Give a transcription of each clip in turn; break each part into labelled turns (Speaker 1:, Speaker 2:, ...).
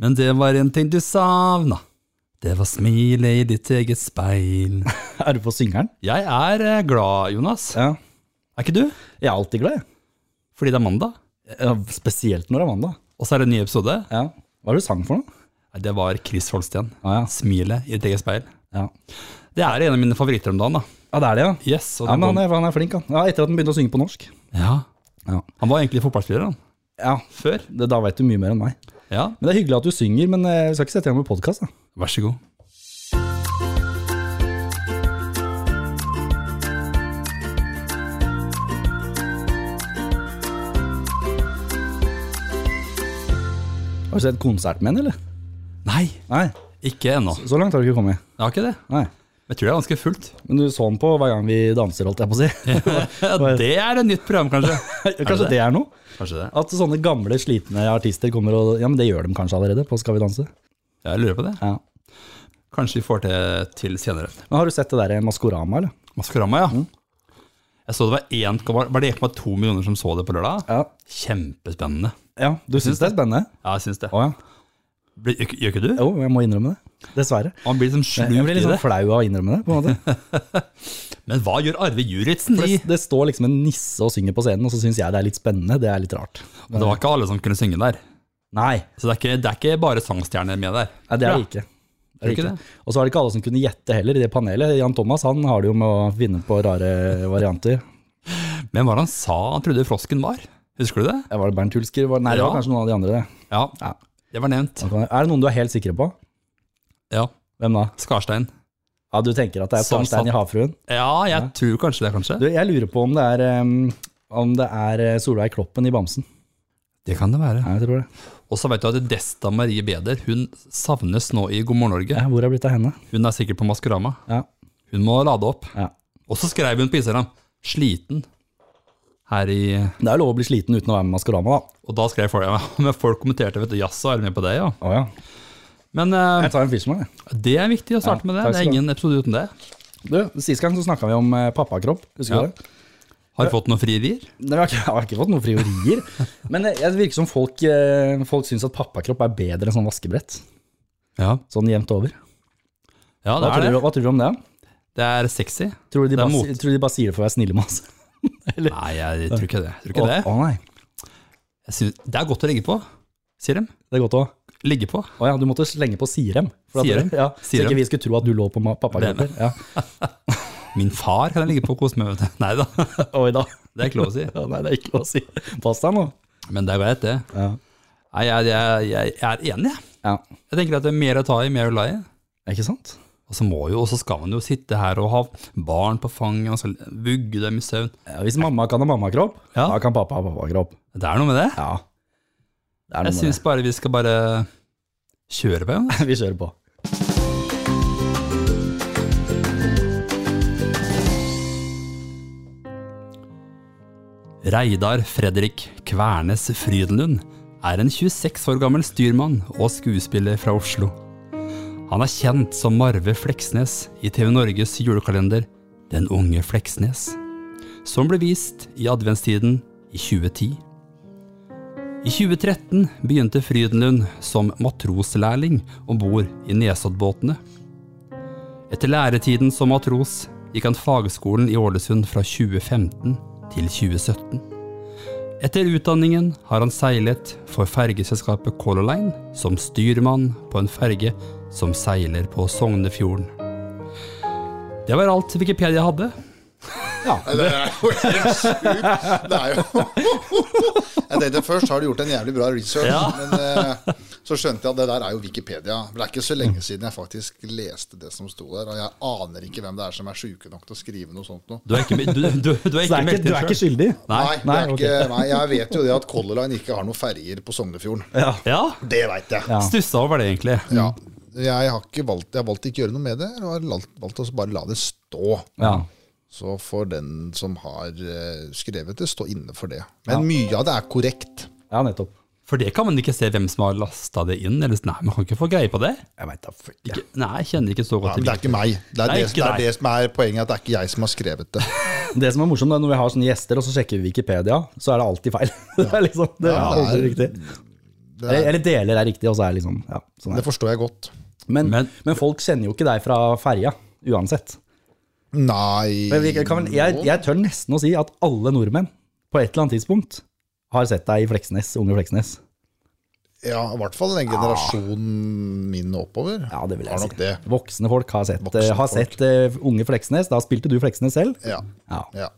Speaker 1: Men det var en ting du savna. Det var smilet i ditt eget speil.
Speaker 2: Er du på syngeren?
Speaker 1: Jeg er eh, glad, Jonas.
Speaker 2: Ja.
Speaker 1: Er ikke du?
Speaker 2: Jeg er alltid glad, jeg.
Speaker 1: Fordi det er mandag,
Speaker 2: Ja, Spesielt når det er mandag.
Speaker 1: og så er det en ny episode.
Speaker 2: Ja. Hva er det du sang for noe?
Speaker 1: Nei, Det var Chris Holsten.
Speaker 2: Ja, ja.
Speaker 1: Smilet i ditt eget speil.
Speaker 2: Ja,
Speaker 1: Det er en av mine favoritter om dagen. da.
Speaker 2: ja det er det, ja.
Speaker 1: Yes, og
Speaker 2: Ja,
Speaker 1: den
Speaker 2: men han
Speaker 1: kom-
Speaker 2: er, han er flink, han. Ja, etter at han begynte å synge på norsk.
Speaker 1: ja.
Speaker 2: Ja.
Speaker 1: Han var egentlig fotballspiller han.
Speaker 2: Ja,
Speaker 1: før.
Speaker 2: det, Da veit du mye mer enn meg.
Speaker 1: Ja,
Speaker 2: Men Det er hyggelig at du synger, men eh, vi skal ikke sette i gang med podkast.
Speaker 1: vær så god.
Speaker 2: Har du sett konsert med henne, eller?
Speaker 1: Nei,
Speaker 2: Nei,
Speaker 1: ikke ennå.
Speaker 2: så langt har du ikke kommet.
Speaker 1: Jeg har ikke det.
Speaker 2: Nei.
Speaker 1: Men Jeg tror det er ganske fullt.
Speaker 2: Men du så den på hver gang vi danser, holdt jeg på å si.
Speaker 1: det er et nytt program, kanskje.
Speaker 2: Kanskje det? er noe?
Speaker 1: Kanskje det.
Speaker 2: At sånne gamle, slitne artister kommer og Ja, men det gjør de kanskje allerede på Skal vi danse.
Speaker 1: Jeg lurer på det.
Speaker 2: Ja.
Speaker 1: Kanskje vi får det til senere.
Speaker 2: Men Har du sett det der Maskorama, eller?
Speaker 1: Maskorama, ja. Jeg så det var 1, var var det 1,2 millioner som så det på lørdag.
Speaker 2: Ja.
Speaker 1: Kjempespennende.
Speaker 2: ja du syns det er spennende?
Speaker 1: Ja, jeg syns det.
Speaker 2: Å ja.
Speaker 1: Blir- Gjør ikke- gjør ikke du?
Speaker 2: Jo, jeg må innrømme det. Dessverre.
Speaker 1: Man blir liksom
Speaker 2: Jeg blir
Speaker 1: slukt
Speaker 2: litt
Speaker 1: i
Speaker 2: sånn
Speaker 1: det. sånn
Speaker 2: flau av å innrømme det, på en måte.
Speaker 1: Men hva gjør Arve Juritzen?
Speaker 2: For
Speaker 1: i-
Speaker 2: det, det står liksom en nisse og synger på scenen, og så syns jeg det er litt spennende. Det er litt rart.
Speaker 1: Det var ikke alle som kunne synge der.
Speaker 2: Nei,
Speaker 1: Så det er ikke, det er ikke bare sangstjerner med der.
Speaker 2: nei det er
Speaker 1: Ja.
Speaker 2: det ikke. Det
Speaker 1: Tror
Speaker 2: er
Speaker 1: ikke
Speaker 2: ikke. Og så var det ikke alle som kunne gjette heller i det panelet. Jan Thomas han har det jo med å vinne på rare varianter.
Speaker 1: Men hva var det han sa han trodde frosken var? Husker du det?
Speaker 2: Ja, Var det Bernt Hulsker? Var, nei, det var
Speaker 1: Ja.
Speaker 2: kanskje noen av de andre. det.
Speaker 1: Ja,
Speaker 2: Ja.
Speaker 1: det var nevnt.
Speaker 2: Da kan jeg- Er det noen du er helt sikre på?
Speaker 1: Ja,
Speaker 2: Hvem da?
Speaker 1: Skarstein.
Speaker 2: Ja, Du tenker at det er
Speaker 1: Som
Speaker 2: Skarstein i
Speaker 1: satt-
Speaker 2: Havfruen?
Speaker 1: Ja, jeg tror kanskje det, kanskje.
Speaker 2: Du, jeg lurer på om det er, um, om det er eh, Solveig Kloppen i Bamsen.
Speaker 1: Det kan det være.
Speaker 2: Ja, jeg tror det.
Speaker 1: Og så vet du at Desta Marie Beder hun savnes nå i God morgen Norge.
Speaker 2: Ja, hvor er det blitt av henne?
Speaker 1: Hun er sikkert på Maskorama.
Speaker 2: Ja.
Speaker 1: Hun må lade opp.
Speaker 2: ja.
Speaker 1: Og så skrev hun på Instagram 'sliten' her i
Speaker 2: Det er lov å bli sliten uten å være med i Maskorama, da.
Speaker 1: Og da skrev folk ja, men folk kommenterte vet du, 'jaså, er du med på det', ja.
Speaker 2: Å ja.
Speaker 1: Men eh,
Speaker 2: Jeg tar en Fishman, jeg.
Speaker 1: det er viktig å starte
Speaker 2: Ja,
Speaker 1: med det.
Speaker 2: takk
Speaker 1: Det er
Speaker 2: skal du ha.
Speaker 1: ingen episode uten det.
Speaker 2: Du, Sist gang så snakka vi om eh, pappakropp. Husker
Speaker 1: Ja.
Speaker 2: du det?
Speaker 1: Har du fått noen frierier?
Speaker 2: Nei, Jeg har ikke, jeg har ikke fått noen friorier. Men jeg- det virker som folk, eh, folk syns at pappakropp er bedre enn sånn vaskebrett.
Speaker 1: Ja.
Speaker 2: Sånn jevnt over.
Speaker 1: ja, det
Speaker 2: Hva, tror,
Speaker 1: er
Speaker 2: du,
Speaker 1: det.
Speaker 2: hva tror du om det?
Speaker 1: Det er sexy.
Speaker 2: Tror du de,
Speaker 1: Det er
Speaker 2: bare,
Speaker 1: mot.
Speaker 2: si- tror du de bare sier det for å være snille med oss?
Speaker 1: Nei, jeg tror ikke det. Jeg tror ikke det.
Speaker 2: Å, å nei.
Speaker 1: Jeg synes, det er godt å ligge på, sier de.
Speaker 2: Det er godt òg.
Speaker 1: Ligge på.
Speaker 2: Å ja, du måtte slenge på Sirem. for at-
Speaker 1: Sirem?
Speaker 2: Ja, så
Speaker 1: Sirem.
Speaker 2: ikke vi skulle tro at du lå på ma- pappakropper. Ja.
Speaker 1: Min far kan jeg ligge på og kose meg med. Nei da,
Speaker 2: Oi da.
Speaker 1: det er ikke lov å si.
Speaker 2: Ja, nei, det er ikke lov å si. Pass deg nå.
Speaker 1: Men det er greit, det.
Speaker 2: Ja.
Speaker 1: Nei, jeg, jeg, jeg, jeg er enig, jeg.
Speaker 2: ja.
Speaker 1: Jeg tenker at det er mer å ta i, mer å la i.
Speaker 2: Ikke sant?
Speaker 1: Og så må jo, og så skal man jo sitte her og ha barn på fanget og så vugge dem i søvn.
Speaker 2: Ja, hvis mamma kan ha mammakropp,
Speaker 1: Ja.
Speaker 2: da kan pappa ha pappakropp.
Speaker 1: Det er noe med det.
Speaker 2: Ja. Det er
Speaker 1: Jeg
Speaker 2: noe med det.
Speaker 1: syns bare vi skal bare kjøre på. Ja.
Speaker 2: Vi kjører på.
Speaker 1: Reidar Fredrik Kvernes Frydenlund er en 26 år gammel styrmann og skuespiller fra Oslo. Han er kjent som Marve Fleksnes i TV Norges julekalender Den unge Fleksnes, som ble vist i adventstiden i 2010. I 2013 begynte Frydenlund som matroslærling om bord i Nesoddbåtene. Etter læretiden som matros gikk han fagskolen i Ålesund fra 2015 til 2017. Etter utdanningen har han seilet for fergeselskapet Color Line som styrmann på en ferge som seiler på Sognefjorden. Det var alt Wikipedia hadde.
Speaker 3: Nei, Det er jo helt sjukt. Det er jo Jeg tenkte først har du gjort en jævlig bra research,
Speaker 1: Ja.
Speaker 3: men eh, så skjønte jeg at det der er jo Wikipedia. Men det er ikke så
Speaker 2: Mm.
Speaker 3: lenge siden jeg faktisk leste det som sto der, og jeg aner ikke hvem det er som er sjuke nok til å skrive noe sånt noe.
Speaker 1: Du er ikke, du, du, du er
Speaker 2: Så det
Speaker 1: ikke
Speaker 2: er ikke,
Speaker 1: meldt
Speaker 2: du
Speaker 1: inn
Speaker 2: er ikke
Speaker 1: selv.
Speaker 2: skyldig?
Speaker 1: Nei.
Speaker 3: Nei, det
Speaker 2: nei,
Speaker 3: er
Speaker 2: ok.
Speaker 3: ikke, nei, jeg vet jo det at Color Line ikke har noen ferger på Sognefjorden.
Speaker 2: Ja.
Speaker 1: Ja,
Speaker 3: Det veit jeg.
Speaker 2: Ja.
Speaker 1: stussa over det, egentlig.
Speaker 3: Ja. Jeg har ikke valgt, jeg har valgt ikke å gjøre noe med det, og har valgt, valgt å bare la det stå.
Speaker 2: Ja.
Speaker 3: Så får den som har eh, skrevet det, stå inne for det. Men mye av det er korrekt.
Speaker 2: ja, nettopp.
Speaker 1: For det kan man ikke se hvem som har lasta det inn. Eller, nei, man kan ikke få greie på det.
Speaker 2: Jeg veit da fuck.
Speaker 1: Ikke, nei, jeg kjenner ikke så
Speaker 3: Ja,
Speaker 1: godt
Speaker 3: men det er ikke meg. Det er
Speaker 1: Nei,
Speaker 3: det,
Speaker 1: ikke
Speaker 3: det, er
Speaker 1: deg.
Speaker 3: det som er poenget, at det er ikke jeg som har skrevet det.
Speaker 2: Det som er morsomt, det er når vi har sånne gjester, og så sjekker vi Wikipedia, så er det alltid feil. det er liksom, det er
Speaker 3: Ja, det er-
Speaker 2: aldri riktig.
Speaker 3: Det,
Speaker 2: Eller,
Speaker 3: er,
Speaker 2: eller deler er riktig, og så er det liksom ja, sånn er.
Speaker 3: det forstår jeg godt.
Speaker 2: det. Men,
Speaker 1: Men-
Speaker 2: men, folk kjenner jo ikke deg fra ferja, uansett.
Speaker 3: Nei
Speaker 2: Men vi kan, vel- jeg, jeg tør nesten å si at alle nordmenn på et eller annet tidspunkt har sett deg i Fleksnes, unge Fleksnes.
Speaker 3: Ja, i hvert fall den generasjonen min oppover.
Speaker 2: Ja, det vil jeg
Speaker 3: Har
Speaker 2: si.
Speaker 3: nok det.
Speaker 2: Voksne folk har sett,
Speaker 3: Voksne
Speaker 2: har
Speaker 3: folk.
Speaker 2: sett eh, unge Fleksnes. Da spilte du Fleksnes selv.
Speaker 3: Ja.
Speaker 2: Ja.
Speaker 3: ja.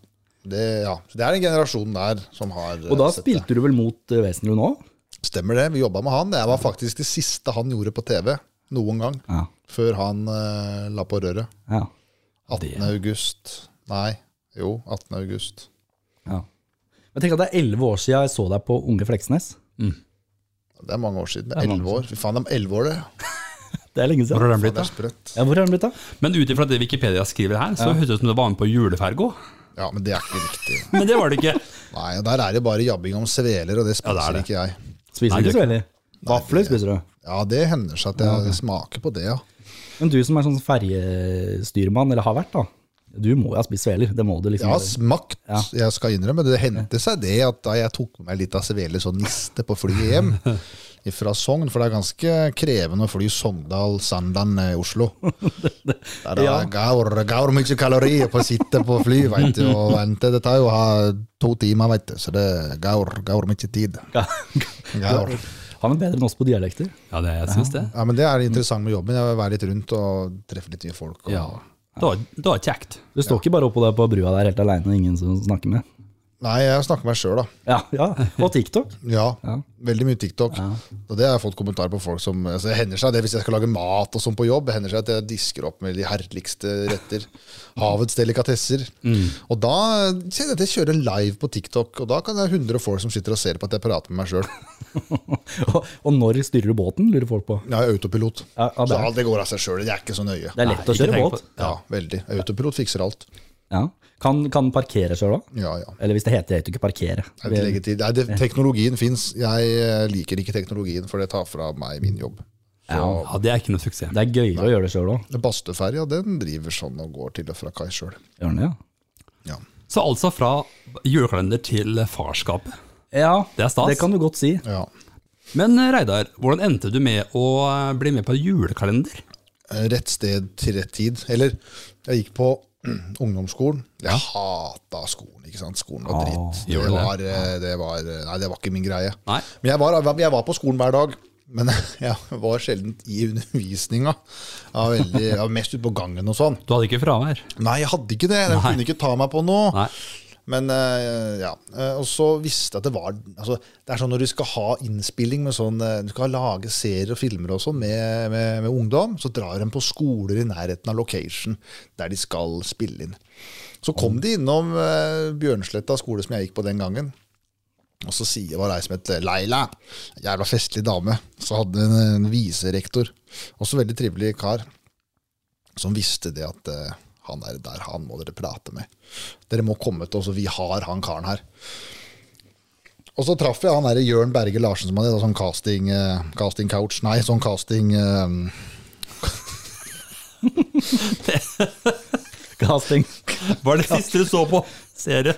Speaker 3: Det, ja. Så det er den generasjonen der som har eh,
Speaker 2: Og da
Speaker 3: sett det.
Speaker 2: spilte du vel mot eh, Wesenlund òg?
Speaker 3: Stemmer det. Vi jobba med han. Det var faktisk det siste han gjorde på TV noen gang.
Speaker 2: Ja.
Speaker 3: Før han eh, la på røret.
Speaker 2: Ja.
Speaker 3: 18. august. Nei, jo, 18. august.
Speaker 2: ja. Men tenk at det er elleve år siden jeg så deg på Unge Fleksnes.
Speaker 3: Det er mange år siden.
Speaker 2: er mange
Speaker 3: 11 år. Fy faen, det er 11 år, det.
Speaker 2: Det er lenge
Speaker 1: Hvor
Speaker 2: siden.
Speaker 1: har den
Speaker 3: Faen,
Speaker 1: blitt
Speaker 3: det
Speaker 1: da?
Speaker 3: er sprøtt.
Speaker 2: Ja, hvor er den blitt, da?
Speaker 1: Men ut ifra det Wikipedia skriver her, så høres det ut som du var med på juleferga.
Speaker 3: Ja, men det er ikke riktig.
Speaker 1: Men det var det ikke.
Speaker 3: Nei, og der er det bare jabbing om sveler, og det spiser
Speaker 1: Ja, det er det.
Speaker 3: ikke jeg.
Speaker 2: Spiser
Speaker 1: Nei,
Speaker 2: du
Speaker 1: det
Speaker 2: ikke
Speaker 1: gjør
Speaker 2: så veldig? Vafler spiser du.
Speaker 3: Ja, det hender seg at jeg smaker på det, ja.
Speaker 2: Men du som er sånn ferjestyrmann, eller har vært, da. Du må jo ha spist sveler. Det må du
Speaker 3: Jeg
Speaker 2: liksom.
Speaker 3: har
Speaker 2: gjøre.
Speaker 3: smakt, jeg skal innrømme. Det hendte seg det at da jeg tok med meg litt av sveler sånn niste på flyet hjem fra Sogn, for det er ganske krevende å fly Sogndal-Sandland eh, Oslo. Der er det
Speaker 2: Ja.
Speaker 3: gaur, gaur mye kalorier på å sitte på fly, vet du, og vente. Det tar jo ha to timer, vet du, så det er gaur, gaur mye tid. Gaur.
Speaker 2: Han er bedre enn oss på dialekter.
Speaker 1: Ja, det, jeg syns det.
Speaker 3: Ja, men det er interessant med jobben. Jeg vil være litt rundt og treffe litt nye folk. Og...
Speaker 1: Ja. Det var, det var kjekt.
Speaker 2: Du står ikke bare oppå der på brua der helt aleine og ingen som snakker med.
Speaker 3: Nei, jeg snakker med meg sjøl, da.
Speaker 2: Ja, ja. Og TikTok.
Speaker 3: Ja,
Speaker 2: Ja.
Speaker 3: Veldig mye TikTok. Og det har jeg fått kommentarer på folk som altså, Det hender seg det hvis jeg skal lage mat og sånn på jobb, det hender seg at jeg disker opp med de herligste retter. Havets delikatesser.
Speaker 2: Mm.
Speaker 3: Og da kjenner jeg at jeg kjører live på TikTok, og da kan det være 100 folk som sitter og ser på at jeg prater med meg sjøl.
Speaker 2: Og, og når styrer du båten, lurer folk på.
Speaker 3: Jeg er autopilot.
Speaker 2: Ja, ja, det
Speaker 3: Så
Speaker 2: er-
Speaker 3: alt det går av seg sjøl. Det er ikke så nøye.
Speaker 2: Det er lett
Speaker 1: Nei,
Speaker 2: å
Speaker 1: ikke
Speaker 2: kjøre
Speaker 1: tenk
Speaker 2: båt.
Speaker 1: på-
Speaker 3: Ja, veldig. Autopilot fikser alt.
Speaker 2: Ja. Kan, kan parkere sjøl òg?
Speaker 3: Ja, ja.
Speaker 2: Eller hvis det heter, det heter jo ikke parkere.
Speaker 3: Jeg vil legge til- Nei, det, teknologien fins. Jeg eh, liker ikke teknologien, for det tar fra meg min jobb. Så
Speaker 1: Ja, det er ikke noe suksess.
Speaker 2: Det er gøyere å gjøre det sjøl òg.
Speaker 3: Bastøferja den driver sånn og går til og fra kai sjøl.
Speaker 2: Gjør den det, ja?
Speaker 3: Ja.
Speaker 1: Så altså fra julekalender til farskapet.
Speaker 2: Ja,
Speaker 1: Det er stas.
Speaker 2: det kan du godt si.
Speaker 3: ja.
Speaker 1: Men eh, Reidar, hvordan endte du med å eh, bli med på julekalender?
Speaker 3: Rett sted til rett tid. Eller, jeg gikk på ungdomsskolen. Jeg hata skolen, ikke sant. Skolen var dritt. Det
Speaker 1: gjorde det?
Speaker 3: var, eh, det var, eh, nei, det var ikke min greie.
Speaker 1: Nei.
Speaker 3: Men jeg var, jeg var på skolen hver dag. Men jeg var sjelden i undervisninga. Jeg var, veldig, jeg var mest ute på gangen og sånn.
Speaker 1: Du hadde ikke fravær.
Speaker 3: Nei, jeg hadde ikke det. De kunne ikke ta meg på noe.
Speaker 1: Nei.
Speaker 3: Men eh, ja, eh, og så visste jeg at det var altså, Det er sånn når du skal ha innspilling med sånn eh, Du skal lage serier og filmer og sånn med, med, med ungdom, så drar de på skoler i nærheten av location der de skal spille inn. Så kom de innom eh, Bjørnsletta skole som jeg gikk på den gangen. Og så sier var ei som het Leila. Jævla festlig dame. Så hadde hun en viserektor. Også veldig trivelig kar. Som visste det at eh, han er der, han må dere prate med. Dere må komme til oss, og vi har han karen her. Og så traff jeg han der Jørn Berge Larsen, som hadde da sånn casting, eh, casting couch Nei, sånn casting eh,
Speaker 2: Casting,
Speaker 1: Hva er det siste du så på serie?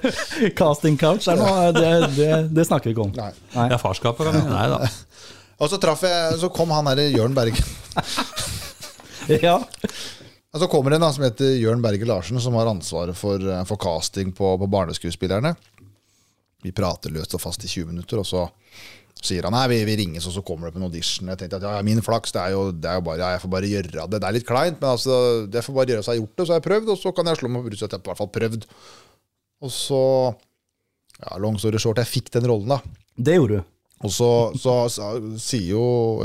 Speaker 2: casting couch, er noe, det, det, det snakker vi ikke om.
Speaker 3: Nei.
Speaker 1: Ja, farskapet, kan jeg Nei da.
Speaker 3: Og så traff jeg, så kom han der Jørn Berge
Speaker 2: Ja.
Speaker 3: Og så kommer det en da, som heter Jørn Berge Larsen, som har ansvaret for, eh, for casting på, på barneskuespillerne. Vi prater løst og fast i 20 minutter, og så sier han nei, vi, vi ringes, og så kommer det på en audition. Jeg tenkte at ja, ja, min flaks, det er jo, det er jo bare, ja, jeg får bare gjøre det. Det er litt kleint, men altså, jeg får bare gjøre det, så har jeg gjort det, så har jeg prøvd, og så kan jeg slå meg på brystet at jeg i hvert fall prøvd. Og så, ja, long story short, jeg fikk den rollen da.
Speaker 2: Det gjorde du.
Speaker 3: Og så, så, så sier jo,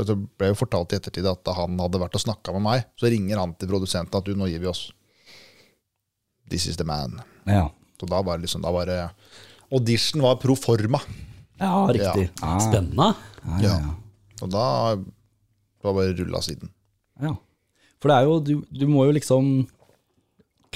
Speaker 3: det ble jo fortalt i ettertid at han hadde vært og snakka med meg. Så ringer han til produsenten at du, nå gir vi oss. This is the man.
Speaker 2: Ja,
Speaker 3: Så da var det liksom, da var det Audition var pro forma.
Speaker 2: ja riktig. Ah, Ja.
Speaker 1: Spennende.
Speaker 3: Ja. Og da det var bare rulla siden.
Speaker 2: Ja. For det er jo, du, du må jo liksom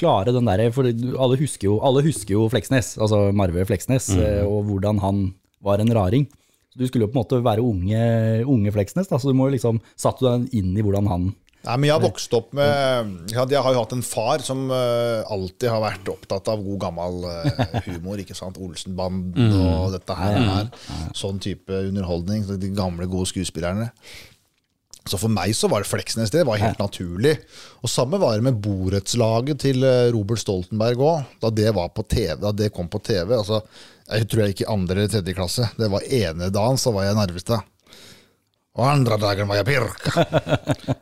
Speaker 2: klare den derre For du- alle husker jo, alle husker jo Fleksnes, altså Marve Fleksnes, eh, og hvordan han var en raring. Så du skulle jo på en måte være unge, unge Fleksnes, da, så du må jo liksom Satte du deg inn i hvordan han
Speaker 3: Nei, men jeg har vokst opp med ja, Jeg har jo hatt en far som eh, alltid har vært opptatt av god gammel eh, humor. ikke sant? Olsenbanden og dette her. og her. Sånn type underholdning. så De gamle, gode skuespillerne. Så for meg så var det Fleksnes. Det var helt naturlig. Og samme var det med borettslaget til eh, Robert Stoltenberg òg, da, det var på TV- da det kom på TV. altså, Jeg tror jeg gikk i andre eller tredje klasse. Det var ene dagen så var jeg Narvestad. Og andre dagen var jeg Birka.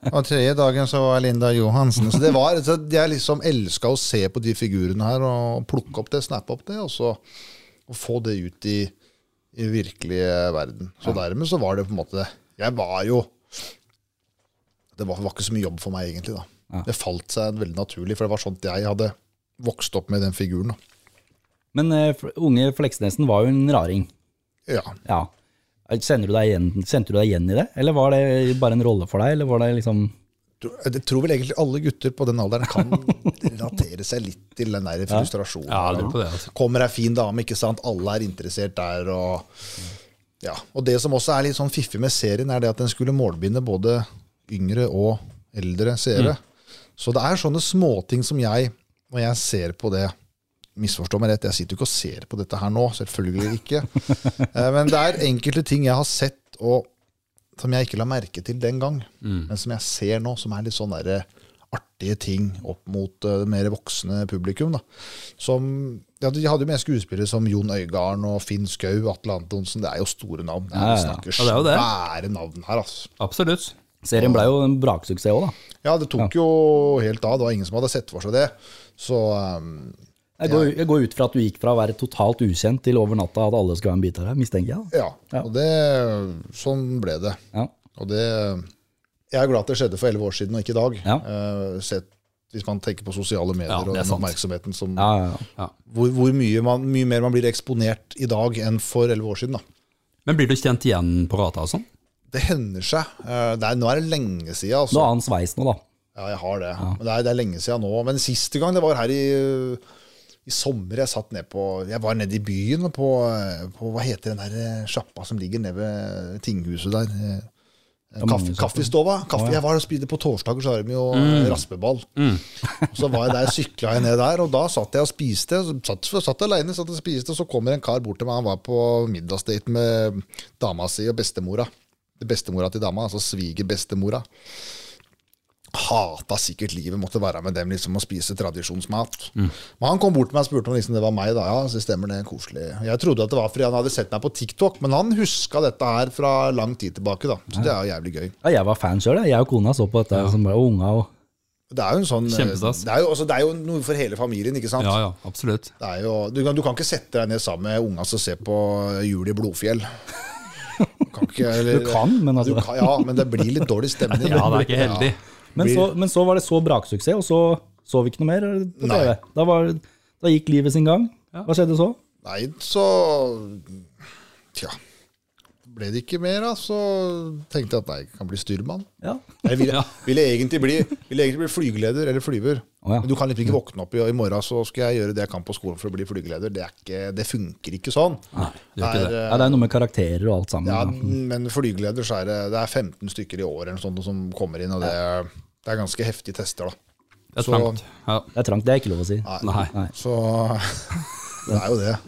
Speaker 3: Og tredje dagen så var jeg Linda Johansen. Så det var, så Jeg liksom elska å se på de figurene her og plukke opp det, snappe opp det, og så og få det ut i, i virkelige verden. Så dermed så var det på en måte Jeg var jo Det var, var ikke så mye jobb for meg, egentlig. da. Det falt seg veldig naturlig, for det var sånt jeg hadde vokst opp med den figuren. da.
Speaker 2: Men eh, f- unge Fleksnesen var jo en raring.
Speaker 3: Ja.
Speaker 2: Ja. Kjenner du deg igjen, kjente du deg igjen i det, eller var det bare en rolle for deg? Eller var det liksom
Speaker 3: tror- Jeg tror vel egentlig alle gutter på den alderen kan relatere seg litt til den der frustrasjonen.
Speaker 1: Ja, jeg lurer på det, altså.
Speaker 3: Kommer ei fin dame, ikke sant. Alle er interessert der. Og, ja. og det som også er litt sånn fiffig med serien, er det at den skulle målbinde både yngre og eldre seere. Så det er sånne småting som jeg, når jeg ser på det Misforstå meg rett, jeg sitter jo ikke og ser på dette her nå. Selvfølgelig ikke. Eh, Men det er enkelte ting jeg har sett og som jeg ikke la merke til den gang,
Speaker 1: Mm.
Speaker 3: men som jeg ser nå, som er litt sånn derre artige ting opp mot eh, det mer voksne publikum. da. Som, ja, De hadde jo med skuespillere som Jon Øigarden og Finn Skau, Atle Antonsen. Det er jo store navn. Det er,
Speaker 2: Ja,
Speaker 3: vi
Speaker 2: ja, ja.
Speaker 3: snakker
Speaker 1: Ja, det er jo det.
Speaker 3: svære navn her, altså.
Speaker 1: Absolutt.
Speaker 2: Serien blei jo en braksuksess òg, da.
Speaker 3: Ja, det tok jo helt av. Det var ingen som hadde sett for seg det. Så eh,
Speaker 2: Jeg går, jeg går ut fra at du gikk fra å være totalt ukjent til over natta at alle skulle være en bit av deg, mistenker jeg. da.
Speaker 3: ja. Og det, sånn ble det.
Speaker 2: Ja.
Speaker 3: Og det Jeg er glad det skjedde for elleve år siden, og ikke i dag.
Speaker 2: Ja.
Speaker 3: Eh, sett, hvis man tenker på sosiale medier
Speaker 1: Ja,
Speaker 3: og
Speaker 1: det er
Speaker 3: den
Speaker 1: sant.
Speaker 3: oppmerksomheten som
Speaker 2: Ja, ja, ja.
Speaker 3: Hvor, hvor mye, man, mye mer man blir eksponert i dag enn for elleve år siden, da.
Speaker 1: Men blir du kjent igjen på gata og sånn?
Speaker 3: Det hender seg. Eh, det er, nå er det lenge siden.
Speaker 2: Du
Speaker 3: Altså.
Speaker 2: har annen sveis nå, da.
Speaker 3: Ja, jeg har det. Men det er, det er lenge siden nå. Men siste gang det var her i, i sommer, jeg satt ned på Jeg var nede i byen på, på Hva heter den der eh, sjappa som ligger nede ved tinghuset der? Eh, Kaffe, kaffestova. Kaffe, jeg var og spiste på torsdager, så har de jo eh, raspeball. Og Så var jeg der, sykla jeg ned der, og da satt jeg og spiste. Så Satt, satt aleine, satt og spiste, og så kommer en kar bort til meg. Han var på middagsdate med dama si og bestemora. Bestemora til dama, altså svigerbestemora hata sikkert livet, måtte være med dem liksom og spise tradisjonsmat.
Speaker 1: Mm.
Speaker 3: Men han kom bort til meg og spurte om liksom, det var meg. da, ja, så stemmer det, koselig. Jeg trodde at det var fordi han hadde sett meg på TikTok, men han huska dette her fra lang tid tilbake. da, Så det er jo jævlig gøy.
Speaker 2: Ja, jeg var fan sjøl, jeg. Jeg og kona så på dette, som bare, og unga og
Speaker 3: Det er jo en sånn,
Speaker 1: Kjempestas.
Speaker 3: det er jo, altså, det er jo noe for hele familien, ikke sant?
Speaker 1: Ja, ja, absolutt.
Speaker 3: Det er jo, du, kan, du kan ikke sette deg ned sammen med unga som ser på Jul i Blodfjell. Du kan, ikke, eller,
Speaker 2: Du kan, men
Speaker 3: du
Speaker 2: altså
Speaker 3: kan, Ja, men det blir litt dårlig stemning.
Speaker 1: Ja, det er ikke heldig.
Speaker 2: Men så, men så var det så braksuksess, og så så vi ikke noe mer eh, på
Speaker 3: Nei.
Speaker 2: TV. Da, var, da gikk livet sin gang. Hva skjedde så?
Speaker 3: Nei, så Tja. Ble det ikke mer, da, så tenkte jeg at nei, jeg kan bli styrmann.
Speaker 2: Ja.
Speaker 3: Jeg ville,
Speaker 1: Ja.
Speaker 3: ville, egentlig bli, ville egentlig bli flygeleder eller flyver.
Speaker 2: Å, ja.
Speaker 3: Men du kan liksom ikke våkne opp i, i morgen så skal jeg gjøre det jeg kan på skolen for å bli flygeleder. Det, er ikke, det funker ikke sånn. eh,
Speaker 1: Nei, det gjør ikke det.
Speaker 2: ja, Det er noe med karakterer og alt sammen.
Speaker 3: Ja,
Speaker 2: da.
Speaker 3: men flygeleder så er det, det er 15 stykker i året eller sånt som kommer inn, og det, er- det er ganske heftige tester, da.
Speaker 1: Det er
Speaker 3: så-
Speaker 1: trangt. Ja.
Speaker 2: Det er trangt, det er ikke lov å si. Nei,
Speaker 1: Nei.
Speaker 3: Så det er jo det.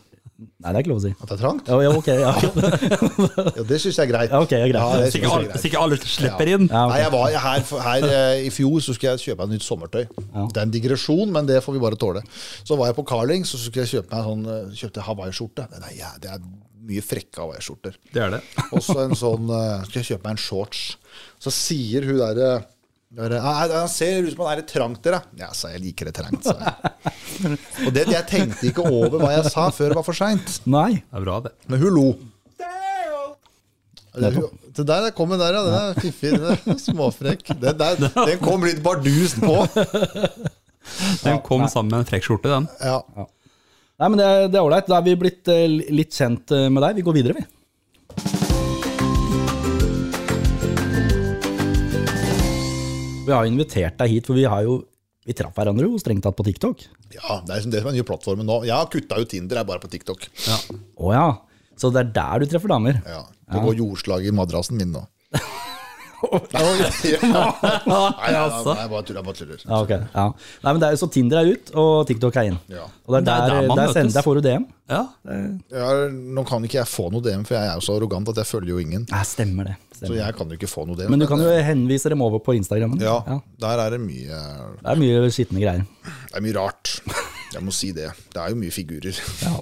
Speaker 2: det er ikke lov å si.
Speaker 3: At det er trangt?
Speaker 2: Ja, ja, ok, ja.
Speaker 3: Ja, det syns jeg er greit.
Speaker 2: Ja, ok, ja, greit.
Speaker 1: Så
Speaker 3: det synes
Speaker 1: ikke
Speaker 3: jeg er
Speaker 1: alle,
Speaker 3: greit.
Speaker 1: så ikke alle slipper inn.
Speaker 2: Ja, Ah, ok.
Speaker 3: Nei, jeg var her, her eh, I fjor så skulle jeg kjøpe meg nytt sommertøy. Det er en digresjon, men det får vi bare tåle. Så var jeg på Carling, så skulle jeg kjøpe meg sånn, eh, kjøpte jeg hawaiiskjorte. Den er jæ- Det er mye frekke hawaiiskjorter.
Speaker 1: Det er det.
Speaker 3: Og så en sånn eh, Skal jeg kjøpe meg en shorts? Så sier hun derre der, Han ser ut som han er litt trangt, dere. Ja, sa jeg. Jeg liker det trangt, sa jeg. Og det, jeg tenkte ikke over hva jeg sa før det var for seint.
Speaker 2: Nei.
Speaker 1: Det er bra, det.
Speaker 3: Men hun lo. Det, hun, det der der kom den der, ja. Den er fiffig. Den er småfrekk. Den, der, den kom litt bardus på.
Speaker 1: Den kom sammen med en frekk skjorte, den.
Speaker 3: Ja.
Speaker 2: Nei, men det, er- det er ålreit. Da er vi blitt eh, litt kjent eh, med deg. Vi går videre, vi. Vi har invitert deg hit, for vi har jo vi traff hverandre jo strengt tatt på TikTok.
Speaker 3: ja, det er liksom det som er den nye plattformen nå. Jeg har kutta ut Tinder, jeg er bare på TikTok.
Speaker 1: Ja.
Speaker 2: Å ja. Så det er der du treffer damer.
Speaker 3: Ja. Det går jordslag i madrassen min nå. Nei, ja,
Speaker 1: altså.
Speaker 3: nei, jeg bare tuller. Jeg bare tuller.
Speaker 2: Ja, ok. Ja. Nei, men det er, så Tinder er ut, og TikTok er inn.
Speaker 3: Ja.
Speaker 2: Og det er
Speaker 1: Det er
Speaker 2: der,
Speaker 1: der man
Speaker 2: der, sender,
Speaker 1: møtes.
Speaker 2: der får du DM.
Speaker 1: Ja,
Speaker 3: Jeg er- nå kan ikke jeg få noe DM, for jeg er jo så arrogant at jeg følger jo ingen.
Speaker 2: Nei, stemmer det.
Speaker 3: Så
Speaker 2: Stemmer.
Speaker 3: jeg kan jo ikke få noe DM.
Speaker 2: Men du kan jo henvise dem over på Instagram.
Speaker 3: ja, der er det mye
Speaker 2: Det er mye skitne greier.
Speaker 3: Det er mye rart. Jeg må si det. Det er jo mye figurer.
Speaker 2: Ja,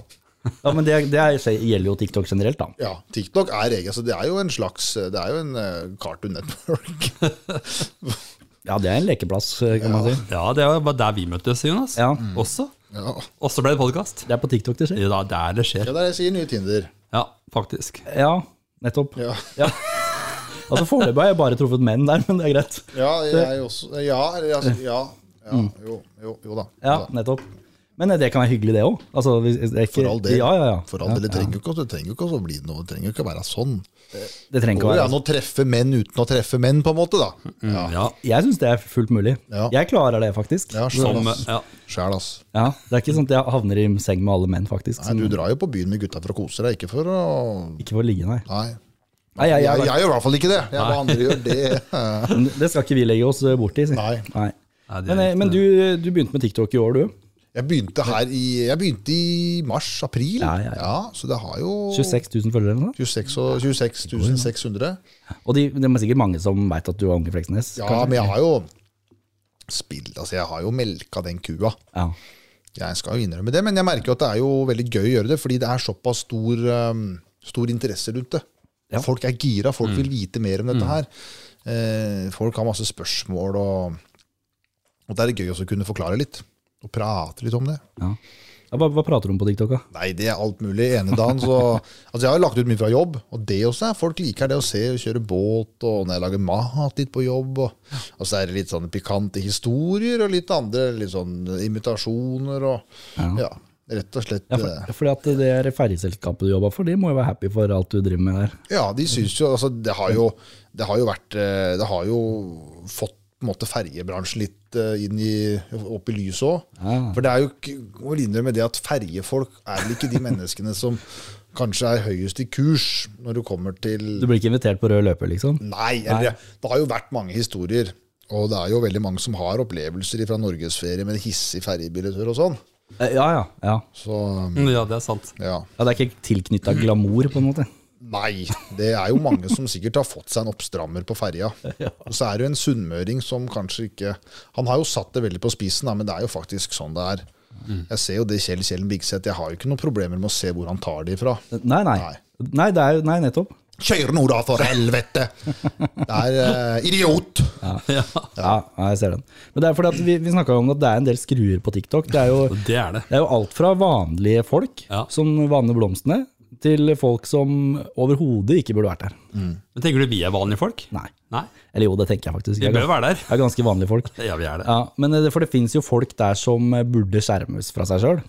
Speaker 2: Men det, det er, gjelder jo TikTok generelt, da.
Speaker 3: Ja, TikTok er egen, så det er jo en slags Det er jo en eh, cartoon network.
Speaker 2: Ja, det er en lekeplass, eh, kan man si.
Speaker 1: ja det var bare der vi møttes, Jonas.
Speaker 2: Ja.
Speaker 1: Også.
Speaker 3: Ja.
Speaker 1: Også ble det podkast.
Speaker 2: Det er på TikTok det skjer.
Speaker 1: Ja, der det skjer.
Speaker 3: ja, der jeg sier nye Tinder.
Speaker 1: Ja, faktisk.
Speaker 2: Ja, nettopp.
Speaker 3: Ja,
Speaker 2: Altså Foreløpig har jeg bare truffet menn der, men det er greit.
Speaker 3: ja jeg også Ja, eller altså, ja. ja jo, jo, jo da.
Speaker 2: Ja,
Speaker 3: Jo da.
Speaker 2: nettopp. Men eh, det kan være hyggelig, det òg. Altså, hvis- det er ikke-
Speaker 3: For all del.
Speaker 2: Ja, ja, ja.
Speaker 3: For all del, det trenger jo ikke, det trenger jo ikke å bli noe, det trenger jo ikke å være sånn.
Speaker 2: Det trenger
Speaker 3: Det
Speaker 2: ikke å
Speaker 3: går jo
Speaker 2: være Mm.
Speaker 3: an å treffe menn uten å treffe menn, på en måte, da. Ja,
Speaker 1: Ja,
Speaker 2: Jeg syns det er fullt mulig.
Speaker 3: Ja.
Speaker 2: Jeg klarer det, faktisk.
Speaker 3: ja sjæl,
Speaker 1: som,
Speaker 3: ass.
Speaker 1: ja.
Speaker 3: Sjæl, ass.
Speaker 2: Ja, Det er ikke sånn at jeg havner i seng med alle menn, faktisk.
Speaker 3: Nei, du drar jo på byen med gutta for å kose deg, ikke for å
Speaker 2: Ikke for å ligge, nei.
Speaker 3: Nei.
Speaker 2: nei jeg,
Speaker 3: Jeg,
Speaker 2: jeg,
Speaker 3: jeg gjør i hvert fall ikke det. Jeg bare andre gjør det.
Speaker 2: det skal ikke vi legge oss eh, borti. si.
Speaker 3: Nei.
Speaker 2: nei.
Speaker 1: Nei, det er
Speaker 2: Men, eh,
Speaker 1: riktig,
Speaker 2: men
Speaker 1: det.
Speaker 2: du, du begynte med TikTok i år, du.
Speaker 3: Jeg begynte her i Jeg begynte i mars-april.
Speaker 2: Ja, ja, ja.
Speaker 3: Så det har jo
Speaker 2: 26 000 følgere eller noe?
Speaker 3: 26 og- 26 600.
Speaker 2: Og de, det er sikkert mange som veit at du er Unge Fleksnes.
Speaker 3: Ja,
Speaker 2: kanskje?
Speaker 3: men jeg har jo spilt Altså, jeg har jo melka den kua.
Speaker 2: ja.
Speaker 3: Jeg skal jo innrømme det, men jeg merker jo at det er jo veldig gøy å gjøre det, fordi det er såpass stor, ehm, stor interesse rundt det.
Speaker 2: Ja. Mm.
Speaker 3: Folk er gira, folk vil vite mer om dette her. Eh, folk har masse spørsmål, og, og det er gøy også å kunne forklare litt. Og prate litt om det.
Speaker 2: ja. Ja, hva, hva prater du om på TikTok? da?
Speaker 3: Nei, det er alt mulig. Ene dagen så Altså, jeg har jo lagt ut mye fra jobb, og det også er folk liker det å se og kjøre båt, og når jeg lager mat litt på jobb, og, og så er det litt sånne pikante historier, og litt andre litt sånn imitasjoner, og
Speaker 2: Ja.
Speaker 3: ja, rett og slett
Speaker 2: Ja, for,
Speaker 3: eh,
Speaker 2: fordi at det er ferjeselskapet du jobber for, de må jo være happy for alt du driver med der.
Speaker 3: Ja, de syns jo altså, det, har jo, det har jo vært eh, Det har jo fått på en måte ferjebransjen litt eh, inn i, opp i lyset òg.
Speaker 2: Ja.
Speaker 3: For det er jo ikke jeg må innrømme det at ferjefolk er vel ikke de menneskene som kanskje er høyest i kurs når du kommer til
Speaker 2: Du blir ikke invitert på rød løper, liksom?
Speaker 3: Nei, eller, det har jo vært mange historier. Og det er jo veldig mange som har opplevelser fra norgesferie med en hissig ferjebilletør og sånn.
Speaker 2: Eh, Ja, ja. ja.
Speaker 3: Så
Speaker 1: ja, det er sant.
Speaker 3: ja.
Speaker 2: ja det er ikke tilknytta glamour, på en måte.
Speaker 3: Nei, det er jo mange som sikkert har fått seg en oppstrammer på ferja. Og så er det jo en sunnmøring som kanskje ikke Han har jo satt det veldig på spisen, da, men det er jo faktisk sånn det er.
Speaker 2: Mm.
Speaker 3: Jeg ser jo det Kjell Kjellen Bigseth, jeg har jo ikke noen problemer med å se hvor han tar det ifra.
Speaker 2: Nei, nei.
Speaker 3: Nei.
Speaker 2: Nei, det er, jo- nei nettopp.
Speaker 3: Kjør nå, da, for helvete! Det er eh, idiot!
Speaker 1: Ja,
Speaker 2: Ja, ja, jeg ser den. Men det er fordi at vi, vi snakka om at det er en del skruer på TikTok. Det er jo,
Speaker 1: det er det.
Speaker 2: det er jo alt fra vanlige folk
Speaker 1: Ja.
Speaker 2: som vanner blomstene, til folk som overhodet ikke burde vært der.
Speaker 1: Men tenker du vi er vanlige folk?
Speaker 2: Nei.
Speaker 1: Nei,
Speaker 2: Eller jo, det tenker jeg faktisk.
Speaker 1: vi
Speaker 2: Jeg
Speaker 1: bør
Speaker 2: er,
Speaker 1: jo være der.
Speaker 2: jeg er ganske vanlige folk.
Speaker 1: Ja, vi er det.
Speaker 2: Ja, men det, For det fins jo folk der som eh, burde skjermes fra seg sjøl.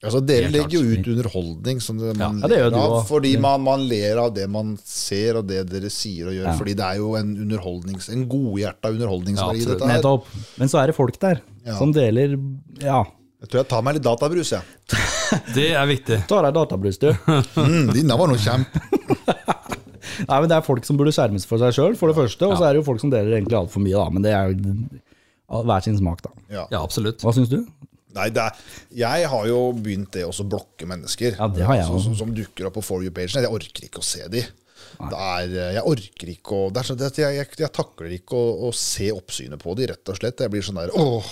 Speaker 3: Altså, dere
Speaker 1: Helt klart.
Speaker 3: legger jo ut underholdning som det man
Speaker 2: Ja, det gjør
Speaker 3: ler
Speaker 2: du
Speaker 3: av,
Speaker 2: også.
Speaker 3: fordi man, man ler av det man ser og det dere sier og gjør. Fordi det er jo en, underholdnings, en godhjerta underholdningsverdi,
Speaker 1: Ja, absolutt.
Speaker 3: dette her.
Speaker 2: Nettopp. Men så er det folk der
Speaker 3: Ja.
Speaker 2: som deler Ja,
Speaker 3: Jeg tror jeg tar meg litt databrus, jeg.
Speaker 1: Det er viktig.
Speaker 2: ta deg databrus, du.
Speaker 3: Mm, Denne var noe kjempe.
Speaker 2: Nei, men Det er folk som burde skjermes for seg sjøl, for det første. Og så er det jo folk som deler egentlig altfor mye, da. Men det er jo hver sin smak, da.
Speaker 3: Ja.
Speaker 1: Ja, absolutt.
Speaker 2: Hva syns du?
Speaker 3: Nei, det er, jeg har jo begynt det også å blokke mennesker.
Speaker 2: Ja, det har jeg
Speaker 3: Som-
Speaker 2: også.
Speaker 3: Som, som dukker opp på For you-pagen. Jeg orker ikke å se de. Det er, eh, jeg orker ikke å det er sånn, at jeg, jeg, jeg takler ikke å, å se oppsynet på de, rett og slett. Jeg blir sånn der åh.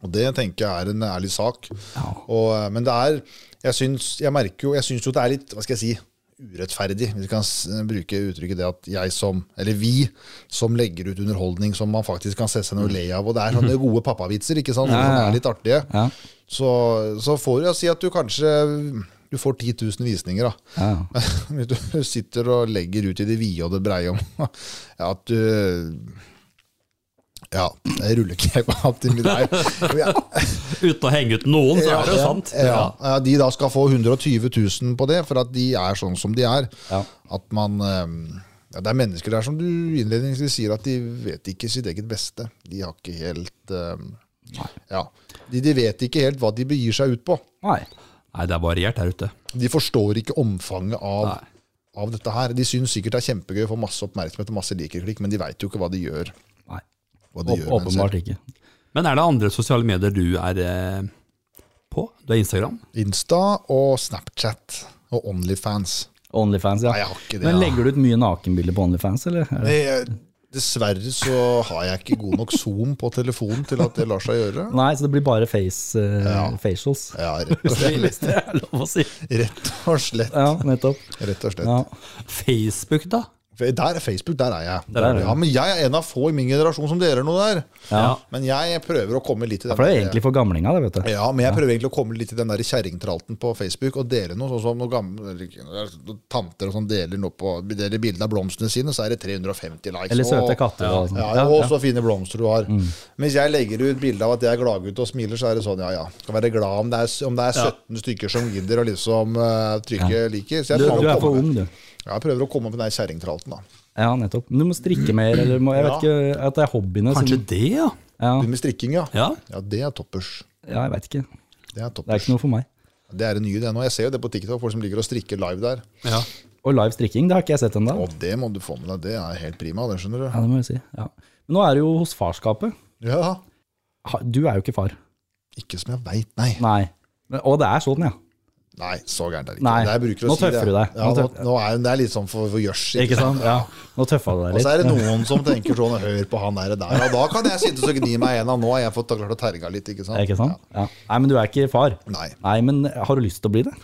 Speaker 3: Og det tenker jeg er en ærlig sak. Og, eh, men det er Jeg syns jeg merker jo, jeg syns jo det er litt Hva skal jeg si? Urettferdig, hvis vi kan s- bruke uttrykket det at jeg som, eller vi, som legger ut underholdning som man faktisk kan se seg noe le av. Og det er sånne gode pappavitser, ikke sant? Som er litt artige.
Speaker 2: Mm. Ja.
Speaker 3: Så, så får du ja, si at du kanskje du får 10 000 visninger, da.
Speaker 2: Ja.
Speaker 3: Hvis du sitter og legger ut i det vide og det breie om ja, at du Ja, rullekebab til middag. Ja,
Speaker 1: Uten å henge ut noen, så er det jo sant.
Speaker 3: ja, ja, de da skal få 120 000 på det, for at de er sånn som de er.
Speaker 2: Ja.
Speaker 3: At man eh, ja, Det er mennesker der som du innledningsvis sier at de vet ikke sitt eget beste. De har ikke helt eh, Ja. De, de vet ikke helt hva de begir seg ut på.
Speaker 2: Nei.
Speaker 1: Nei, det er variert her ute.
Speaker 3: De forstår ikke omfanget av,
Speaker 1: Nei.
Speaker 3: av dette her. De syns sikkert det er kjempegøy å få masse oppmerksomhet og masse likerklikk, men de veit jo ikke hva de gjør.
Speaker 2: Nei,
Speaker 3: Hva de
Speaker 2: åp-
Speaker 3: gjør med en selv.
Speaker 2: åpenbart ikke.
Speaker 1: Men er det andre sosiale medier du er eh, på? Du er Instagram?
Speaker 3: Insta og Snapchat og Onlyfans.
Speaker 2: Onlyfans, ja.
Speaker 3: Nei, jeg har ikke det. altså.
Speaker 2: Men legger du ut mye nakenbilder på Onlyfans, eller? Er det-
Speaker 3: Nei, jeg- dessverre så har jeg ikke god nok zoom på telefonen til at det lar seg gjøre.
Speaker 2: Nei, så det blir bare face, eh, facials.
Speaker 3: Ja, rett og slett.
Speaker 2: Det er lov å si.
Speaker 3: Rett og slett.
Speaker 2: Ja, nettopp.
Speaker 3: Rett og slett.
Speaker 2: Ja.
Speaker 1: Facebook, da?
Speaker 3: Der er Facebook, der er jeg.
Speaker 2: Der er du.
Speaker 3: ja, men jeg er en av få i min generasjon som deler noe der.
Speaker 1: Ja.
Speaker 3: Men jeg prøver å komme litt i den
Speaker 2: For det er egentlig for gamlinga, det, vet du.
Speaker 3: ja, men jeg prøver egentlig å komme litt i den der kjerringtralten på Facebook og dele noe. Sånn som noen gamle eller ikke, noen tanter og sånn deler, noe på, deler bilder av blomstene sine, så er det 350 likes.
Speaker 2: Eller søte
Speaker 3: Åh,
Speaker 2: katter og sånn.
Speaker 3: Ja,
Speaker 2: Ja,
Speaker 3: og
Speaker 2: ja. Mm.
Speaker 3: så fine blomster du har. Mens jeg legger ut bilde av at jeg er gladgutt og smiler, så er det sånn, ja ja. Skal være glad om det er, om det er 17 stykker som gidder å liksom eh, trykke liker. Så jeg
Speaker 2: Du,
Speaker 3: prøver,
Speaker 2: du
Speaker 3: å
Speaker 2: er for
Speaker 3: komme-
Speaker 2: ung, du.
Speaker 3: Ja, jeg prøver å komme opp i den der kjerringtralten, da.
Speaker 2: Ja, nettopp. Men Du må strikke mer, eller må, jeg vet ikke at det er hobbyene som
Speaker 1: Kanskje det, ja.
Speaker 2: ja,
Speaker 3: Du med strikking, ja.
Speaker 1: ja.
Speaker 3: Ja, det er toppers.
Speaker 2: ja, jeg vet ikke.
Speaker 3: Det er
Speaker 2: Det er
Speaker 3: toppers.
Speaker 2: ikke noe for meg.
Speaker 3: Det er det nye, det nå. Jeg ser jo det på TikTok, folk som ligger og strikker live der.
Speaker 1: ja.
Speaker 2: Og live strikking, det har ikke jeg sett ennå.
Speaker 3: Og det må du få med deg. Det er helt prima, det skjønner
Speaker 2: Ja,
Speaker 3: du.
Speaker 2: det må jeg si. Ja. Men nå er du jo hos farskapet.
Speaker 3: Ja,
Speaker 2: Ha- Du er jo ikke far.
Speaker 3: ikke som jeg veit, nei.
Speaker 2: Nei. Men- Og det er sånn, ja.
Speaker 3: Nei, så gærent er det ikke.
Speaker 2: Nei,
Speaker 3: Det jeg bruker å
Speaker 2: nå
Speaker 3: si
Speaker 2: tøffer du deg.
Speaker 3: Ja,
Speaker 2: Nå
Speaker 3: nå,
Speaker 2: tøffer-
Speaker 3: nå er det- det er litt sånn for, for gjørs.
Speaker 2: Ikke sant? Ja. Nå tøffa du deg
Speaker 3: Og
Speaker 2: litt.
Speaker 3: så er det noen som tenker sånn Hør på han der, og der. Ja, da kan jeg sitte og gni meg igjen. Nå har jeg fått klart å terga litt, ikke sant?
Speaker 2: Ikke sant? Ja. Nei, men du er ikke far.
Speaker 3: Ja. Nei.
Speaker 2: Nei, men har du lyst til å bli det?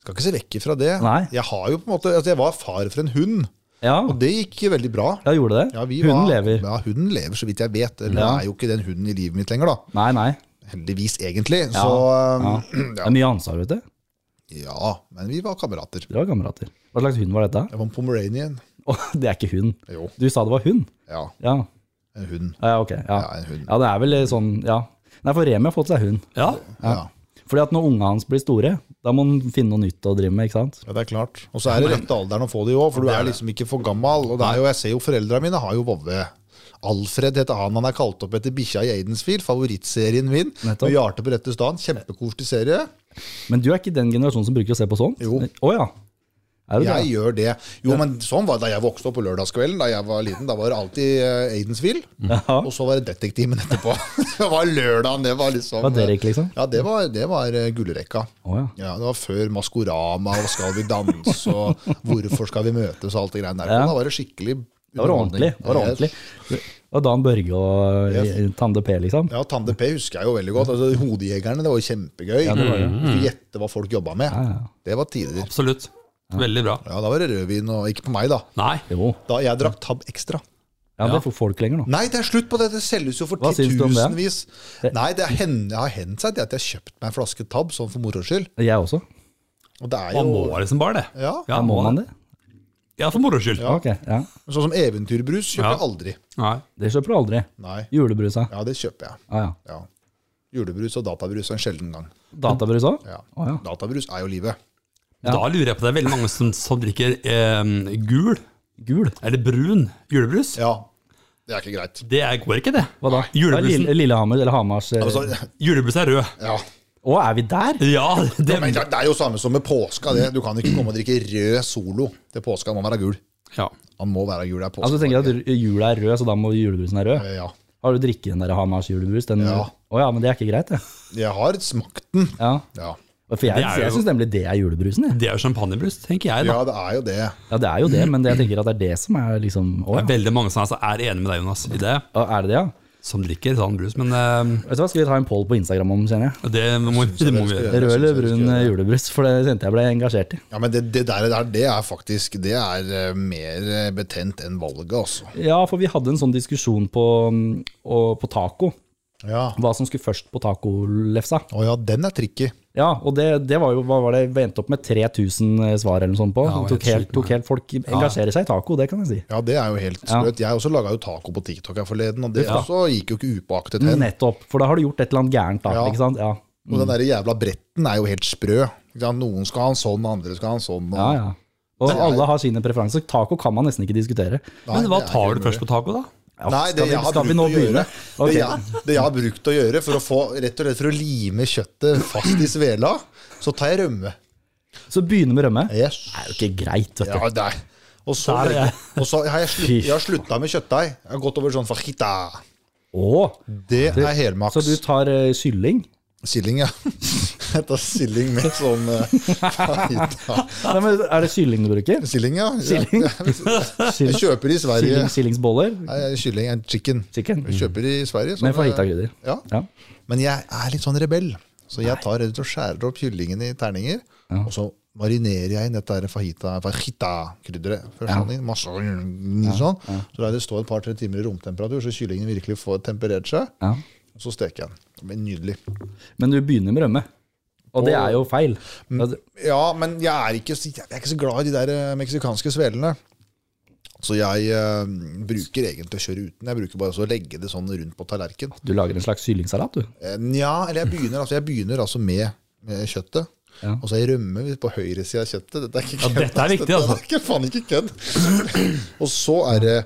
Speaker 3: Skal ikke se vekk ifra det.
Speaker 2: Nei.
Speaker 3: Jeg har jo på en måte altså, Jeg var far for en hund,
Speaker 2: Ja,
Speaker 3: og det gikk veldig bra.
Speaker 2: ja gjorde det?
Speaker 3: Ja, vi
Speaker 2: Hunden
Speaker 3: var,
Speaker 2: lever.
Speaker 3: Ja, hunden lever, så vidt jeg vet. Eller
Speaker 2: Ja.
Speaker 3: det er jo ikke den hunden i livet mitt lenger, da.
Speaker 2: Nei, nei.
Speaker 3: Heldigvis, egentlig.
Speaker 2: Ja,
Speaker 3: Så um,
Speaker 2: Ja. Det er mye ansvar, vet du.
Speaker 3: ja, men vi var kamerater.
Speaker 2: Dere var kamerater. Hva slags hund var dette?
Speaker 3: Jeg var en pomeranian.
Speaker 2: Åh, det er ikke hund.
Speaker 3: Jo,
Speaker 2: Du sa det var hund?
Speaker 3: ja.
Speaker 2: Ja,
Speaker 3: En hund.
Speaker 2: ja ok. Ja.
Speaker 3: Ja, en hund.
Speaker 2: ja, det er vel sånn, ja. Nei, for Remi har fått seg hund.
Speaker 1: ja.
Speaker 3: Ja.
Speaker 2: Fordi at når unga hans blir store, da må han finne noe nytt å drive med, ikke sant?
Speaker 3: ja, det er klart. Og så er det rette alderen å få det i òg, for du er liksom ikke for gammel. Og det er jo, jeg ser jo foreldra mine har jo vovve. Alfred heter han. Han er kalt opp etter bikkja i Aidensfield, favorittserien min.
Speaker 2: Nettopp.
Speaker 3: Med Jarte på rette stand. Kjempekoselig serie.
Speaker 2: Men du er ikke den generasjonen som bruker å se på sånt?
Speaker 3: Jo.
Speaker 2: Å ja. Er du det?
Speaker 3: Jeg gjør det. Jo, men sånn var det da jeg vokste opp på lørdagskvelden. Da jeg var liten, da var det alltid eh, Aidensfield.
Speaker 2: Ja.
Speaker 3: Og så var det Detektimen etterpå. det var lørdagen, det var liksom
Speaker 2: Var Derek, liksom?
Speaker 3: Ja, det var, det var eh, gullrekka.
Speaker 2: Å ja.
Speaker 3: Ja, det var før Maskorama og Skal vi danse og Hvorfor skal vi møtes og alt det greiene der.
Speaker 2: Ja.
Speaker 3: Da var det skikkelig
Speaker 2: Det var ordentlig. Det var ordentlig. Det var Dan Børge og
Speaker 3: Yes.
Speaker 2: Tande P, liksom.
Speaker 3: Ja, Tande P husker jeg jo veldig godt. Altså, Hodejegerne, det var jo kjempegøy.
Speaker 2: Ja, det var det.
Speaker 3: Du skulle gjette hva folk jobba med.
Speaker 2: ja.
Speaker 3: Det var tider.
Speaker 1: Absolutt. Veldig bra.
Speaker 3: Ja, da var det rødvin, og ikke på meg, da.
Speaker 1: Nei.
Speaker 2: Jo.
Speaker 3: Da Jeg drakk Tab Extra.
Speaker 2: Ja, det får folk lenger nå.
Speaker 3: Nei, det er slutt på det! Det selges jo for
Speaker 2: Hva syns du om det?
Speaker 3: titusenvis. Nei, det er hen- det har hendt seg det at jeg har kjøpt meg en flaske Tab, sånn for moro skyld.
Speaker 2: Jeg også.
Speaker 3: Og det er
Speaker 1: Man må
Speaker 3: jo
Speaker 1: liksom bare det.
Speaker 3: ja,
Speaker 1: Ja,
Speaker 2: Må man det?
Speaker 1: Ja, for moro skyld.
Speaker 2: Ok, ja.
Speaker 3: Sånn som eventyrbrus kjøper
Speaker 1: Ja.
Speaker 3: jeg aldri.
Speaker 1: Nei.
Speaker 2: Det kjøper du aldri.
Speaker 3: Nei.
Speaker 2: Julebrusa.
Speaker 3: Ja, det kjøper jeg.
Speaker 2: Ja, ja.
Speaker 3: Ja. Julebrus og databrus en sjelden gang.
Speaker 2: Databrus òg?
Speaker 3: Ja.
Speaker 2: Å ja.
Speaker 3: Databrus er jo livet.
Speaker 2: Ja.
Speaker 1: Da lurer jeg på det er veldig mange som, som drikker eh, gul
Speaker 2: Gul.
Speaker 1: eller brun julebrus.
Speaker 3: Ja, det er ikke greit.
Speaker 1: Det er, går ikke, det.
Speaker 2: Hva da?
Speaker 1: Julebrusen.
Speaker 2: Det er Lille- Lillehammer eller Hamars eh.
Speaker 3: Altså,
Speaker 1: Julebrus er rød.
Speaker 3: ja.
Speaker 2: Å, er vi der?
Speaker 1: Ja, det
Speaker 3: Men det er jo samme som med påska. Det. Du kan ikke komme og drikke rød solo til påska. Han må være gul.
Speaker 1: ja.
Speaker 3: Han må være gul, det er påska.
Speaker 2: Altså, tenker jeg at jula er rød, så da må julebrusen være rød.
Speaker 3: Ja.
Speaker 2: Har du drikket den der Hamars julebrus? Den,
Speaker 3: Ja.
Speaker 2: Å ja, men det er ikke greit, det.
Speaker 3: Jeg har smakt den.
Speaker 2: Ja.
Speaker 3: Ja.
Speaker 2: For jeg,
Speaker 1: Det er jo-
Speaker 2: jeg syns nemlig det er julebrusen, jeg.
Speaker 1: Det er jo champagnebrus, tenker jeg.
Speaker 3: ja,
Speaker 1: da.
Speaker 3: det er jo det.
Speaker 2: Ja, det er jo det, men det, jeg tenker at det er det som er liksom Å
Speaker 1: Det
Speaker 2: ja.
Speaker 1: er veldig mange som altså, er enig med deg, Jonas, i det.
Speaker 2: Å, Er det det, ja?
Speaker 1: Som drikker sånn brus. Men eh,
Speaker 2: Vet du hva, Skal vi ta en poll på Instagram om, kjenner jeg?
Speaker 1: det må, det må vi gjøre.
Speaker 3: Jeg
Speaker 2: Rød
Speaker 3: synes
Speaker 2: eller
Speaker 3: jeg
Speaker 2: brun
Speaker 3: skal gjøre det.
Speaker 2: julebrus, for det kjente jeg ble engasjert i.
Speaker 3: Ja, men det, det der, det er- det er faktisk Det er eh, mer eh, betent enn valget, altså.
Speaker 2: Ja, for vi hadde en sånn diskusjon på, mm, og, på taco.
Speaker 3: Ja.
Speaker 2: Hva som skulle først på tacolefsa.
Speaker 3: Å ja, den er tricky.
Speaker 2: Ja, og det, det var jo, hva var det, vi endte opp med 3000 svar eller noe sånt på.
Speaker 1: Ja, det var
Speaker 2: tok,
Speaker 1: helt
Speaker 2: helt,
Speaker 1: sjukt,
Speaker 2: tok helt folk engasjerer seg i taco, det kan jeg si.
Speaker 3: Ja, det er jo helt sprøtt. Jeg også laga jo taco på TikTok her forleden, og det også gikk jo ikke upåaktet hen.
Speaker 2: Nettopp, for da har du gjort et eller annet gærent da,
Speaker 3: Mm. Ja.
Speaker 2: ikke sant? Ja,
Speaker 3: Og
Speaker 2: Mm.
Speaker 3: den der jævla bretten er jo helt sprø. Ikke sant? Noen skal ha en sånn, andre skal ha en sånn. Og...
Speaker 2: ja. ja. Og alle har sine preferanser. Taco kan man nesten ikke diskutere.
Speaker 3: Nei,
Speaker 1: Men hva
Speaker 3: det er
Speaker 1: tar
Speaker 3: ikke
Speaker 1: du først på taco, da?
Speaker 2: Ja,
Speaker 3: Nei, det
Speaker 2: skal vi-
Speaker 3: jeg har
Speaker 2: skal vi
Speaker 3: brukt
Speaker 2: nå
Speaker 3: å gjøre
Speaker 2: begynne? Ok.
Speaker 3: det, jeg, det jeg har brukt å gjøre for å få rett og slett for å lime kjøttet fast i svela, så tar jeg rømme.
Speaker 2: Så begynne med rømme. Det
Speaker 3: Yes.
Speaker 2: er jo ikke greit, vet du.
Speaker 3: Ja, der. Og så,
Speaker 2: Der er jeg.
Speaker 3: og så har jeg, slutt, jeg har slutta med kjøttdeig. Jeg har gått over sånn fajita.
Speaker 2: Å,
Speaker 3: Det er helmaks.
Speaker 2: så du tar eh, kylling?
Speaker 3: Silling, ja. Jeg tar silling med sånn eh, fajita.
Speaker 2: Nei, men er det kylling du bruker?
Speaker 3: Silling, ja.
Speaker 2: Silling?
Speaker 3: Jeg
Speaker 2: Kylling,
Speaker 3: kjøper i Sverige.
Speaker 2: kylling sillingsboller?
Speaker 3: Nei, kylling and chicken.
Speaker 2: Chicken?
Speaker 3: Jeg kjøper i Sverige.
Speaker 2: Med
Speaker 3: sånn, eh,
Speaker 2: fajitakrydder?
Speaker 3: Ja.
Speaker 2: Ja.
Speaker 3: Men jeg er litt sånn rebell, så jeg tar rett og skjærer opp kyllingen i terninger, og så marinerer jeg inn dette her fajita- fajita-krydderet. først sånn inn, masse sånn. Så lar jeg det stå et par-tre timer i romtemperatur, så kyllingen virkelig får temperert seg.
Speaker 2: ja.
Speaker 3: Og så steker jeg den. Det blir nydelig.
Speaker 2: Men du begynner med rømme. Og det er jo feil.
Speaker 3: Mm.
Speaker 2: Altså,
Speaker 3: Ja, men jeg er ikke, så- jeg er ikke så glad i de der eh, meksikanske svelene. Så jeg eh, bruker egentlig å kjøre uten. Jeg bruker bare så å legge det sånn rundt på tallerken.
Speaker 2: Du lager en slags kyllingsalat, du.
Speaker 3: Eh, Nja, eller jeg begynner, altså, jeg begynner altså med, med kjøttet.
Speaker 2: Ja.
Speaker 3: Og så jeg rømmer vi på høyresida av kjøttet. Dette er ikke kødd.
Speaker 1: dette er
Speaker 3: ass.
Speaker 1: viktig,
Speaker 3: Dette
Speaker 1: altså.
Speaker 3: er ikke, faen ikke kødd. Og så er det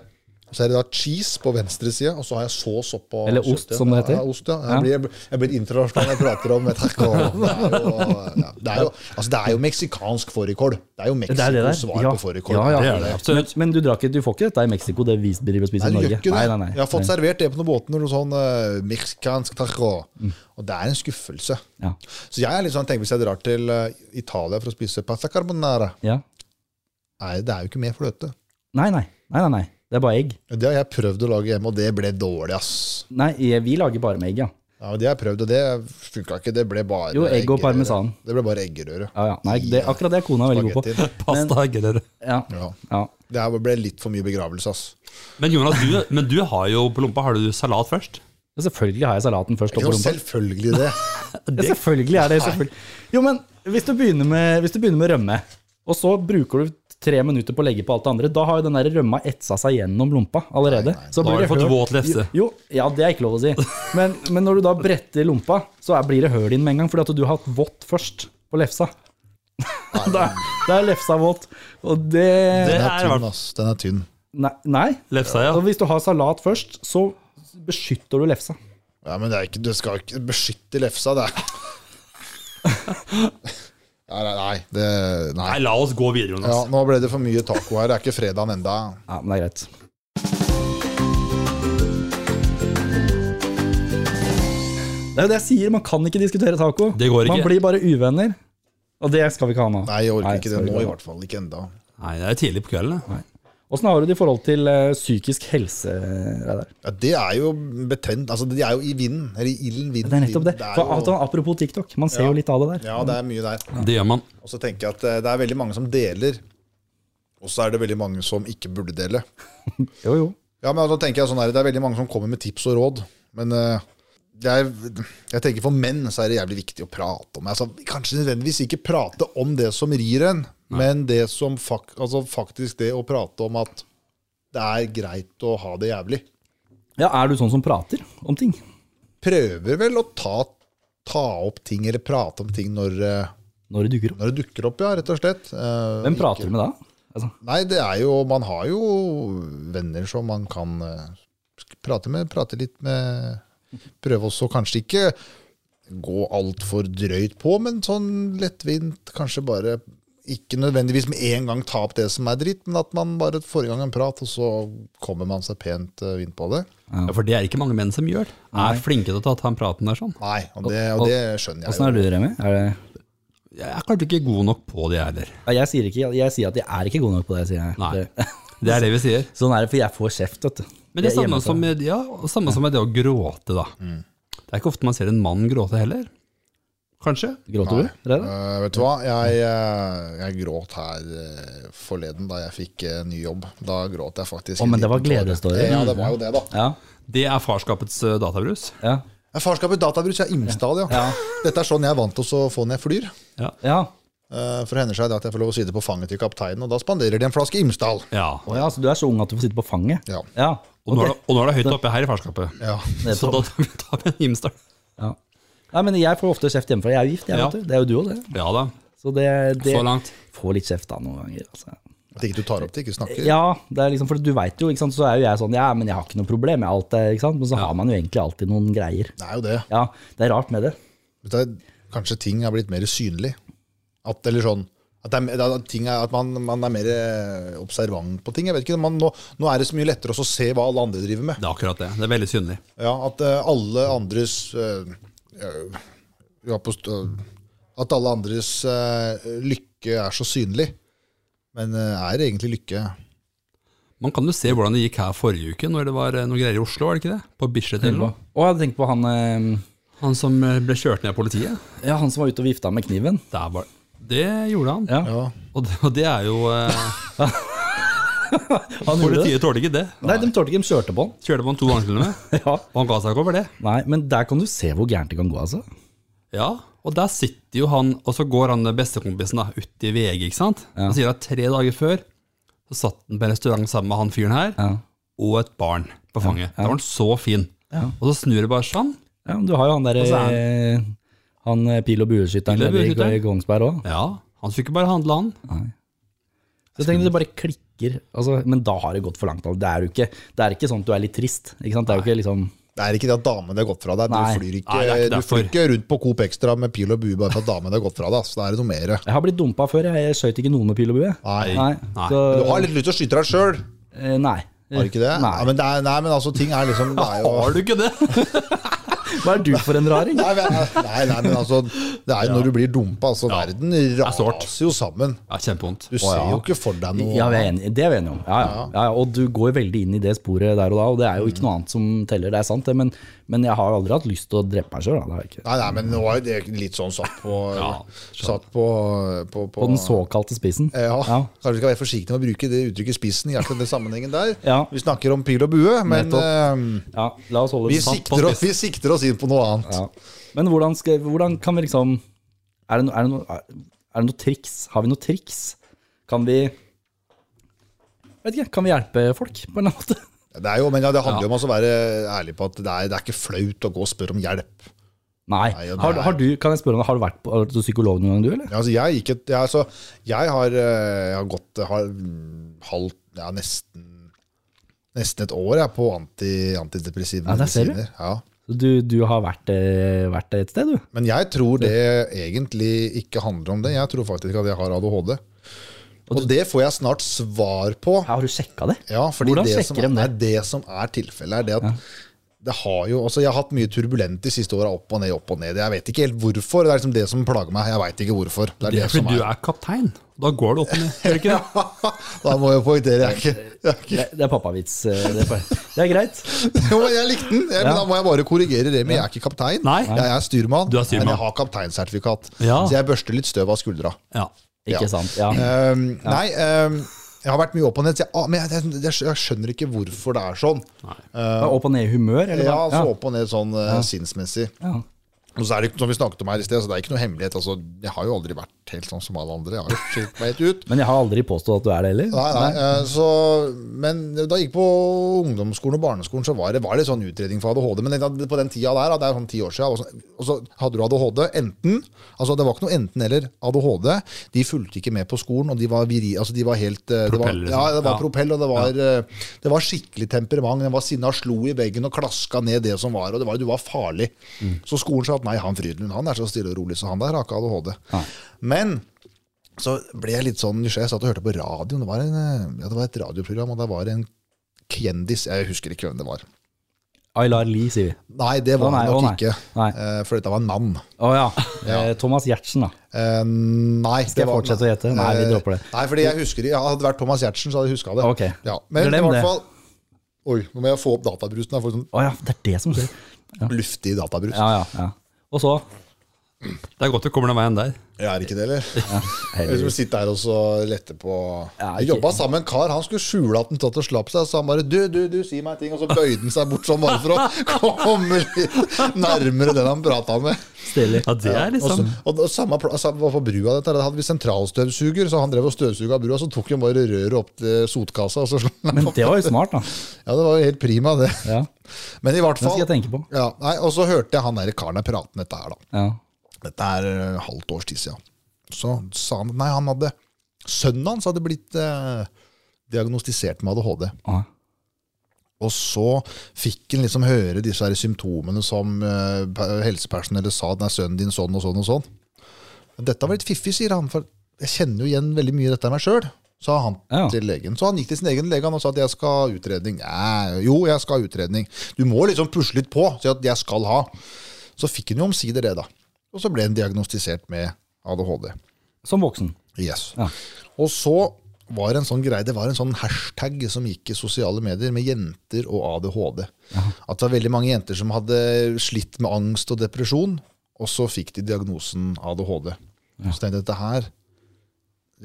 Speaker 3: så er det da cheese på venstre side, og så har jeg saus oppå
Speaker 2: Eller ost, som det heter.
Speaker 3: Ja, ost, ja. Jeg blir, jeg blir- jeg blir internasjonal når jeg prater om tacoen. Det er jo, ja, det er jo, altså, det er jo meksikansk fårikål. Det er jo
Speaker 2: Det er det der.
Speaker 3: Mexicos svar
Speaker 2: Ja.
Speaker 3: på fårikål.
Speaker 1: Det er
Speaker 2: Ja, ja.
Speaker 1: det,
Speaker 2: Men,
Speaker 1: absolutt.
Speaker 2: men du, drar ikke, du får ikke dette i Mexico, det vi driver og
Speaker 3: Nei,
Speaker 2: spiser i
Speaker 3: du gjør
Speaker 2: Norge?
Speaker 3: ikke
Speaker 2: Nei,
Speaker 3: det.
Speaker 2: nei, nei.
Speaker 3: Jeg har fått
Speaker 2: Nei.
Speaker 3: servert det på noen båter, noe sånn eh, meksikansk taco.
Speaker 2: Mm.
Speaker 3: Og det er en skuffelse.
Speaker 2: Ja.
Speaker 3: Så jeg er litt sånn, tenker hvis jeg drar til eh, Italia for å spise pasta carbonara,
Speaker 2: Ja.
Speaker 3: er, det er jo ikke mer fløte.
Speaker 2: Nei, nei, nei, nei, nei. Det er bare egg.
Speaker 3: Det har jeg prøvd å lage hjemme, og det ble dårlig, ass.
Speaker 2: Nei, jeg- vi lager bare med egg, ja.
Speaker 3: Ja, men Det har jeg prøvd, og det funka ikke. Det ble bare
Speaker 2: Jo, egg og
Speaker 3: eggerøre.
Speaker 2: parmesan.
Speaker 3: Det ble bare eggerøre.
Speaker 2: ja, ja. Nei, det, akkurat det er kona veldig god på.
Speaker 3: Spagetti.
Speaker 1: Pasta eggerøre.
Speaker 2: Ja,
Speaker 3: Ja.
Speaker 2: ja.
Speaker 3: Det her ble litt for mye begravelse, ass.
Speaker 1: Men Jonas, du, men du har jo på lompa, har du salat først?
Speaker 2: Ja, selvfølgelig har jeg salaten først. oppå
Speaker 3: Jo,
Speaker 2: rumpa.
Speaker 3: selvfølgelig det.
Speaker 2: Ja, selvfølgelig er det selvfølgelig. Jo, men hvis du, begynner med, hvis du begynner med rømme, og så bruker du tre minutter på å legge på alt det andre, da har jo den der rømma etsa seg gjennom lompa allerede. Så
Speaker 1: Da har
Speaker 2: blir
Speaker 1: du
Speaker 2: det
Speaker 1: fått
Speaker 2: høl-
Speaker 1: våt lefse.
Speaker 2: Jo, ja, det er ikke lov å si. Men, men når du da bretter lompa, så er, blir det høl i den med en gang, fordi at du har hatt vått først på lefsa. Da, da er lefsa våt. Og det
Speaker 1: Det
Speaker 3: Den
Speaker 1: er
Speaker 3: er
Speaker 1: i
Speaker 3: tynn, ass. Den er tynn.
Speaker 2: Nei. nei.
Speaker 1: Lefsa, ja.
Speaker 2: Og hvis du har salat først, så beskytter du lefsa.
Speaker 3: Ja, men det er ikke, du skal ikke beskytte lefsa, det. er- Nei, nei, nei, det,
Speaker 1: Nei,
Speaker 3: nei.
Speaker 1: la oss gå videre, Jonas.
Speaker 3: Ja, nå ble det for mye taco her. Det er ikke fredagen enda.
Speaker 2: Ja, men det er greit. Det er jo det jeg sier, man kan ikke diskutere taco.
Speaker 1: Det går ikke.
Speaker 2: Man blir bare uvenner. Og det skal vi ikke ha nå.
Speaker 3: Nei, jeg orker
Speaker 2: Nei,
Speaker 3: ikke
Speaker 2: skal
Speaker 3: det
Speaker 2: vi
Speaker 3: nå, i
Speaker 2: gå.
Speaker 3: hvert fall. Ikke enda.
Speaker 1: Nei, det er tidlig på kvelden. det.
Speaker 2: Åssen har du det i forhold til eh, psykisk helse? Reidar?
Speaker 3: Ja, det er jo betent. Altså, de er jo i vinden. Eller i ilden, vinden.
Speaker 2: Det er nettopp det.
Speaker 3: vinden.
Speaker 2: For, altså-
Speaker 3: jo,
Speaker 2: at- apropos TikTok, man ser jo litt av det der.
Speaker 3: ja, det er mye der.
Speaker 1: Det gjør man.
Speaker 3: Og så tenker jeg at eh, det er veldig mange som deler, og så er det veldig mange som ikke burde dele.
Speaker 2: Jo, jo.
Speaker 3: Ja, men da tenker jeg sånn her, Det er veldig mange som kommer med tips og råd, men eh, det er, jeg tenker for menn så er det jævlig viktig å prate om. Altså, kanskje nødvendigvis ikke prate om det som rir en, men det som fak, altså, faktisk det å prate om at det er greit å ha det jævlig.
Speaker 2: Ja, er du sånn som prater om ting?
Speaker 3: Prøver vel å ta, ta opp ting eller prate om ting når, eh,
Speaker 2: Når det dukker opp?
Speaker 3: når det dukker opp, ja, rett og slett. Eh,
Speaker 2: Hvem prater du med da? Altså,
Speaker 3: Nei, det er jo Man har jo venner som man kan eh, sk- prate med, prate litt med. Prøve også kanskje ikke gå altfor drøyt på, men sånn lettvint. Kanskje bare ikke nødvendigvis med en gang ta opp det som er dritt, men at man bare får i gang en prat, og så kommer man seg pent eh, inn på det.
Speaker 1: Ja, for det er ikke mange menn som gjør. Er flinke til å ta den praten der sånn.
Speaker 3: Nei, og det, og det skjønner
Speaker 2: Åssen
Speaker 3: jeg jo.
Speaker 2: er du, Remi? Er det...
Speaker 1: Jeg er kanskje ikke god nok på det, jeg heller.
Speaker 2: Ja, Jeg, sier ikke, jeg sier at jeg er ikke god nok på det, sier jeg.
Speaker 1: Nei.
Speaker 2: Det-
Speaker 1: Det er det vi sier.
Speaker 2: Sånn er det, for jeg får kjeft, vet du.
Speaker 1: Men det er
Speaker 2: Jeg
Speaker 1: samme
Speaker 2: hjemmefra.
Speaker 1: som, med- ja, samme som med det å gråte, da. Det er ikke ofte man ser en mann gråte heller. Kanskje?
Speaker 2: Gråter du? Reidar?
Speaker 3: Eh, vet du hva, jeg, eh, jeg gråt her eh, forleden da jeg fikk eh, ny jobb. Da gråt jeg faktisk.
Speaker 2: Å, men det var gledestårer.
Speaker 3: gledestårer. Ja, det var jo det, da.
Speaker 2: Ja.
Speaker 1: Det er farskapets eh, databrus.
Speaker 2: Ja.
Speaker 3: Ja, Farskapet databrus er Imsdal, ja. Dette er sånn jeg er vant til å få når jeg flyr.
Speaker 2: ja.
Speaker 3: Eh, For det hender seg det at jeg får lov å sitte på fanget til kapteinen, og da spanderer de en flaske Imsdal.
Speaker 1: Ja.
Speaker 2: Å ja, så du er så ung at du får sitte på fanget?
Speaker 3: Ja.
Speaker 2: Ja.
Speaker 1: Og nå, er
Speaker 2: ok.
Speaker 1: det, og nå er det høyt oppe her i farskapet.
Speaker 3: Ja.
Speaker 1: Så da tar vi- tar vi en Imsdal.
Speaker 2: ja. Nei, men jeg får ofte kjeft hjemmefra. Jeg er jo gift, jeg,
Speaker 1: Ja.
Speaker 2: vet du. Det er jo du òg, det.
Speaker 1: Ja da.
Speaker 2: Så det, det
Speaker 1: Så langt.
Speaker 2: Får litt kjeft da noen ganger. Altså.
Speaker 3: At ikke du tar opp det, ikke snakker.
Speaker 2: Ja, det er liksom, for du veit jo, ikke sant, så er jo jeg sånn Ja, men jeg har ikke noe problem med alt det, ikke sant. Men så har man jo egentlig alltid noen greier.
Speaker 3: Det er jo det.
Speaker 2: Ja, det er rart med det.
Speaker 3: Vet du, Kanskje ting er blitt mer synlig. At, eller sånn, at At, det er, at, ting er, at man, man er mer eh, observant på ting. Jeg vet ikke, man, nå, nå er det så mye lettere også å se hva alle andre driver
Speaker 1: Det
Speaker 3: med.
Speaker 1: er akkurat det. Det er veldig synlig.
Speaker 3: Ja, At eh, alle andres eh, eh, ja, på st- eh, At alle andres eh, lykke er så synlig. Men eh, er det egentlig lykke?
Speaker 1: Man kan jo se hvordan det gikk her forrige uke, når det var eh, noen greier i Oslo, var det ikke det? På Bislett eller noe?
Speaker 2: Og jeg hadde tenkt på han, eh,
Speaker 1: Han som eh, ble kjørt ned av politiet.
Speaker 2: ja, han som var ute og vifta med kniven.
Speaker 1: Der var det gjorde han.
Speaker 2: Ja.
Speaker 3: Ja.
Speaker 1: Og, det, og det er jo eh,
Speaker 2: Han gjorde det.
Speaker 1: Politiet tålte ikke det.
Speaker 2: Nei, de tålte ikke, de kjørte på han.
Speaker 1: Kjørte på han to ganger til og med,
Speaker 2: Ja.
Speaker 1: og han ga seg ikke over det.
Speaker 2: Nei, men der kan du se hvor gærent det kan gå, altså.
Speaker 1: Ja, og der sitter jo han, og så går han bestekompisen da, ut i VG, ikke sant? Han sier at tre dager før, så satt han på en restaurant sammen med han fyren her,
Speaker 2: Ja.
Speaker 1: og et barn på fanget. Da var han så fin.
Speaker 2: Ja.
Speaker 1: Og så snur det bare sånn.
Speaker 2: Ja, men du har jo han der,
Speaker 1: Og så er
Speaker 2: eh, han eh, pil- og bueskytteren
Speaker 1: Pil- og
Speaker 2: nede i
Speaker 1: bueskytteren.
Speaker 2: K- Kongsberg òg.
Speaker 1: Ja, han skulle ikke bare handle han.
Speaker 2: Så jeg tenker det bare klikker. Altså, men da har det gått for langt. altså. Det er jo ikke, det er ikke sånn at du er litt trist. Ikke sant? Det er jo ikke liksom
Speaker 3: Det er ikke det at damene har gått fra deg.
Speaker 2: Nei.
Speaker 3: Du flyr ikke,
Speaker 1: Nei, det er ikke
Speaker 3: du flyr
Speaker 1: derfor.
Speaker 3: ikke rundt på Coop Extra med pil og bue bare for at damene har gått fra deg. Så da er det noe mer.
Speaker 2: Jeg har blitt dumpa før, jeg, jeg skøyt ikke noen med pil og bue.
Speaker 3: Nei.
Speaker 2: Nei.
Speaker 1: Nei.
Speaker 2: Så,
Speaker 3: Men Du har litt lyst til å skyte deg sjøl,
Speaker 2: eh, nei.
Speaker 3: har du ikke det?
Speaker 2: Nei.
Speaker 3: Ja, men det er, nei, men altså, ting er liksom det er jo,
Speaker 1: Har du ikke det?
Speaker 2: Hva er du for en raring?
Speaker 3: nei, men- nei, nei, men altså Det er jo når du blir dumpa. Altså, verden
Speaker 1: sårt.
Speaker 3: raser jo sammen.
Speaker 1: Ja, kjempevondt.
Speaker 3: Du ser jo ikke for deg noe
Speaker 2: Ja, vi er enige. Det er vi enige om. Ja, ja. Ja, ja, og du går veldig inn i det sporet der og da, og det er jo
Speaker 3: Mm.
Speaker 2: ikke noe annet som teller, det er sant det, men, men jeg har aldri hatt lyst til å drepe meg sjøl.
Speaker 3: Nei, nei, men nå er det litt sånn satt på
Speaker 1: Ja, skjønner.
Speaker 3: Satt på, på, på,
Speaker 2: På den såkalte spissen.
Speaker 3: ja.
Speaker 2: Ja.
Speaker 3: Kanskje vi skal være forsiktige med å bruke det uttrykket 'spissen' i akkurat den sammenhengen der.
Speaker 2: Ja.
Speaker 3: Vi snakker om pil og bue, men eh,
Speaker 2: Ja, la oss holde
Speaker 3: vi,
Speaker 2: det sant.
Speaker 1: på
Speaker 3: sikter oss,
Speaker 1: spissen.
Speaker 3: vi sikter oss inn på noe annet.
Speaker 2: Ja. Men hvordan, skal, hvordan kan vi liksom er det, no, er, det no, er er det noe triks? Har vi noe triks? Kan vi Vet ikke, kan vi hjelpe folk på en eller annen måte?
Speaker 3: Det, er jo, men ja, det handler jo om å være ærlig på at det er, det er ikke flaut å gå og spørre om hjelp.
Speaker 2: Nei.
Speaker 3: Nei, ja, det
Speaker 2: Har,
Speaker 3: er-
Speaker 2: har du, kan jeg spørre om, har du vært på har du vært hos psykolog noen gang, du, eller?
Speaker 3: Ja, altså, jeg, gikk et, jeg, altså, jeg har, eh, jeg har gått eh, har, mm, halv, ja, nesten, nesten et år jeg, på anti, antidepressive
Speaker 2: Ja, der ser du.
Speaker 3: medisiner. Ja.
Speaker 2: Så Du, du har vært, eh, vært et sted, du?
Speaker 3: Men jeg tror det egentlig ikke handler om det. Jeg tror faktisk at jeg har ADHD. Og det får jeg snart svar på.
Speaker 2: Ja, har du sjekka det?
Speaker 3: Ja, fordi
Speaker 2: Hvordan
Speaker 3: det
Speaker 2: sjekker
Speaker 3: som,
Speaker 2: de det?
Speaker 3: Nei, det som er tilfellet, er det at det har jo, altså Jeg har hatt mye turbulent de siste åra. Opp og ned, opp og ned. Jeg vet ikke helt hvorfor. Det er liksom det som plager meg. Jeg vet ikke hvorfor. Det er
Speaker 1: Det
Speaker 3: det,
Speaker 1: er
Speaker 3: som
Speaker 1: fordi du
Speaker 3: er.
Speaker 1: er kaptein. Da går det opp og ned. Gjør det ikke det?
Speaker 3: Da må jeg poengtere. Jeg, er ikke- jeg, er ikke-
Speaker 2: Det, det er pappavits. eh, Det, er bare- det er greit.
Speaker 3: Jo, men jeg likte den! Jeg, men da må jeg bare korrigere det med jeg er ikke kaptein.
Speaker 1: Nei.
Speaker 3: Jeg er styrmann,
Speaker 1: Du er styrmann.
Speaker 3: men jeg har kapteinsertifikat.
Speaker 1: Ja.
Speaker 3: Så jeg børster litt støv av skuldra.
Speaker 1: Ja.
Speaker 3: Ja.
Speaker 2: Ikke sant? Ja.
Speaker 3: Ehm, Nei, ehm, jeg har vært mye opp og ned, så jeg, ah, men jeg, jeg, jeg skjønner ikke hvorfor det er sånn.
Speaker 2: Opp og ned i humør, eller?
Speaker 3: Ja,
Speaker 2: hva?
Speaker 3: altså opp og ned sånn eh, sinnsmessig.
Speaker 2: ja.
Speaker 3: Og så er det ikke- som vi snakket om her i sted, så det er ikke noe hemmelighet. Altså, jeg har jo aldri vært helt sånn som alle andre. Jeg har jo skilt meg helt ut.
Speaker 2: Men jeg har aldri påstått at du er det heller.
Speaker 3: Nei, nei, eh, så, men da jeg gikk på ungdomsskolen og barneskolen, så var det, var det sånn utredning for ADHD. Men det- på den tida der, da, det er sånn ti år siden, og så, og så hadde du ADHD enten Altså, det var ikke noe enten eller. ADHD, de fulgte ikke med på skolen, og de var, viri, altså, de var helt eh, det var,
Speaker 1: Propell, liksom.
Speaker 3: Ja, det var
Speaker 1: Ja.
Speaker 3: propell, og det var, eh, det var skikkelig temperament. Den var sinna, slo i veggen og klaska ned det som var, og det var, du var farlig.
Speaker 2: Mm.
Speaker 3: Så skolen sa at nei, han Frydenlund, han er så stille og rolig, så han der har ikke ADHD. Men så ble jeg litt sånn nysgjerrig. Jeg satt og hørte på radioen. Det var, en, eh, ja, det var et radioprogram, og der var en kjendis. Jeg husker ikke hvem det var.
Speaker 2: Aylar Lie, sier vi.
Speaker 3: Nei, det var
Speaker 2: Å, nei,
Speaker 3: han nok
Speaker 2: å, nei.
Speaker 3: ikke.
Speaker 2: Nei.
Speaker 3: eh, For dette var en mann.
Speaker 2: Å ja. Eh, Thomas Giertsen, da.
Speaker 3: Eh, Nei.
Speaker 2: Skal
Speaker 3: det
Speaker 2: jeg
Speaker 3: var-
Speaker 2: fortsette å gjette? Nei, vi
Speaker 3: eh,
Speaker 2: dropper det.
Speaker 3: Nei, fordi jeg husker det. Ja, Hadde det vært Thomas Giertsen, så hadde jeg huska det.
Speaker 2: Ok.
Speaker 3: Ja. Men
Speaker 2: Glem
Speaker 3: i hvert
Speaker 2: det.
Speaker 3: fall Oi, nå må jeg få opp databrusen. Jeg får sånn
Speaker 2: Å ja, det er det som skjer.
Speaker 3: luftig databrus.
Speaker 2: Ja, ja, ja. Og så
Speaker 1: Det er godt du kommer den veien der.
Speaker 3: Jeg er ikke det, eller? Jeg
Speaker 2: Heldigvis.
Speaker 3: skulle sitte her og så lette på
Speaker 2: Ja, ikke-
Speaker 3: Jeg jobba sammen med en kar. Han skulle skjule at han tatt og slapp seg. Så han bare 'du, du, du, si meg ting', og så bøyde han seg bort sånn bare for å komme litt nærmere den han prata med.
Speaker 2: Stilig.
Speaker 1: Ja, det er
Speaker 3: Og, så,
Speaker 1: liksom
Speaker 3: og, og samme pla- samme var på brua dette, her. da hadde vi sentralstøvsuger, så han drev og støvsuga brua. Så tok han bare røret opp til sotkassa, og så slo han
Speaker 2: Men det var jo smart, da.
Speaker 3: Ja, det var jo helt prima, det.
Speaker 2: Ja.
Speaker 3: Men i hvert
Speaker 2: Den
Speaker 3: fall
Speaker 2: skal jeg tenke på.
Speaker 3: ja, nei, Og så hørte jeg han der karen der prate om dette her, da.
Speaker 2: Ja.
Speaker 3: Dette er eh, halvt års tid siden. Så sa han Nei, han hadde Sønnen hans hadde blitt eh, diagnostisert med ADHD.
Speaker 2: Ah.
Speaker 3: Og så fikk han liksom høre disse her symptomene som eh, pe- helsepersonellet sa at nei, sønnen din sånn og sånn og sånn. Dette var litt fiffig, sier han. For jeg kjenner jo igjen veldig mye dette av meg sjøl, sa han
Speaker 2: Ja.
Speaker 3: til legen. Så han gikk til sin egen lege han og sa at jeg skal ha utredning. «Nei, jo, jeg skal ha utredning. Du må liksom pusle litt på, si at jeg skal ha. Så fikk han jo omsider det, da. Og så ble han diagnostisert med ADHD.
Speaker 2: Som voksen.
Speaker 3: Yes.
Speaker 2: Ja.
Speaker 3: Og så var det en sånn greie, det var en sånn hashtag som gikk i sosiale medier med jenter og ADHD. At det var veldig mange jenter som hadde slitt med angst og depresjon, og så fikk de diagnosen ADHD. Så tenkte jeg dette her,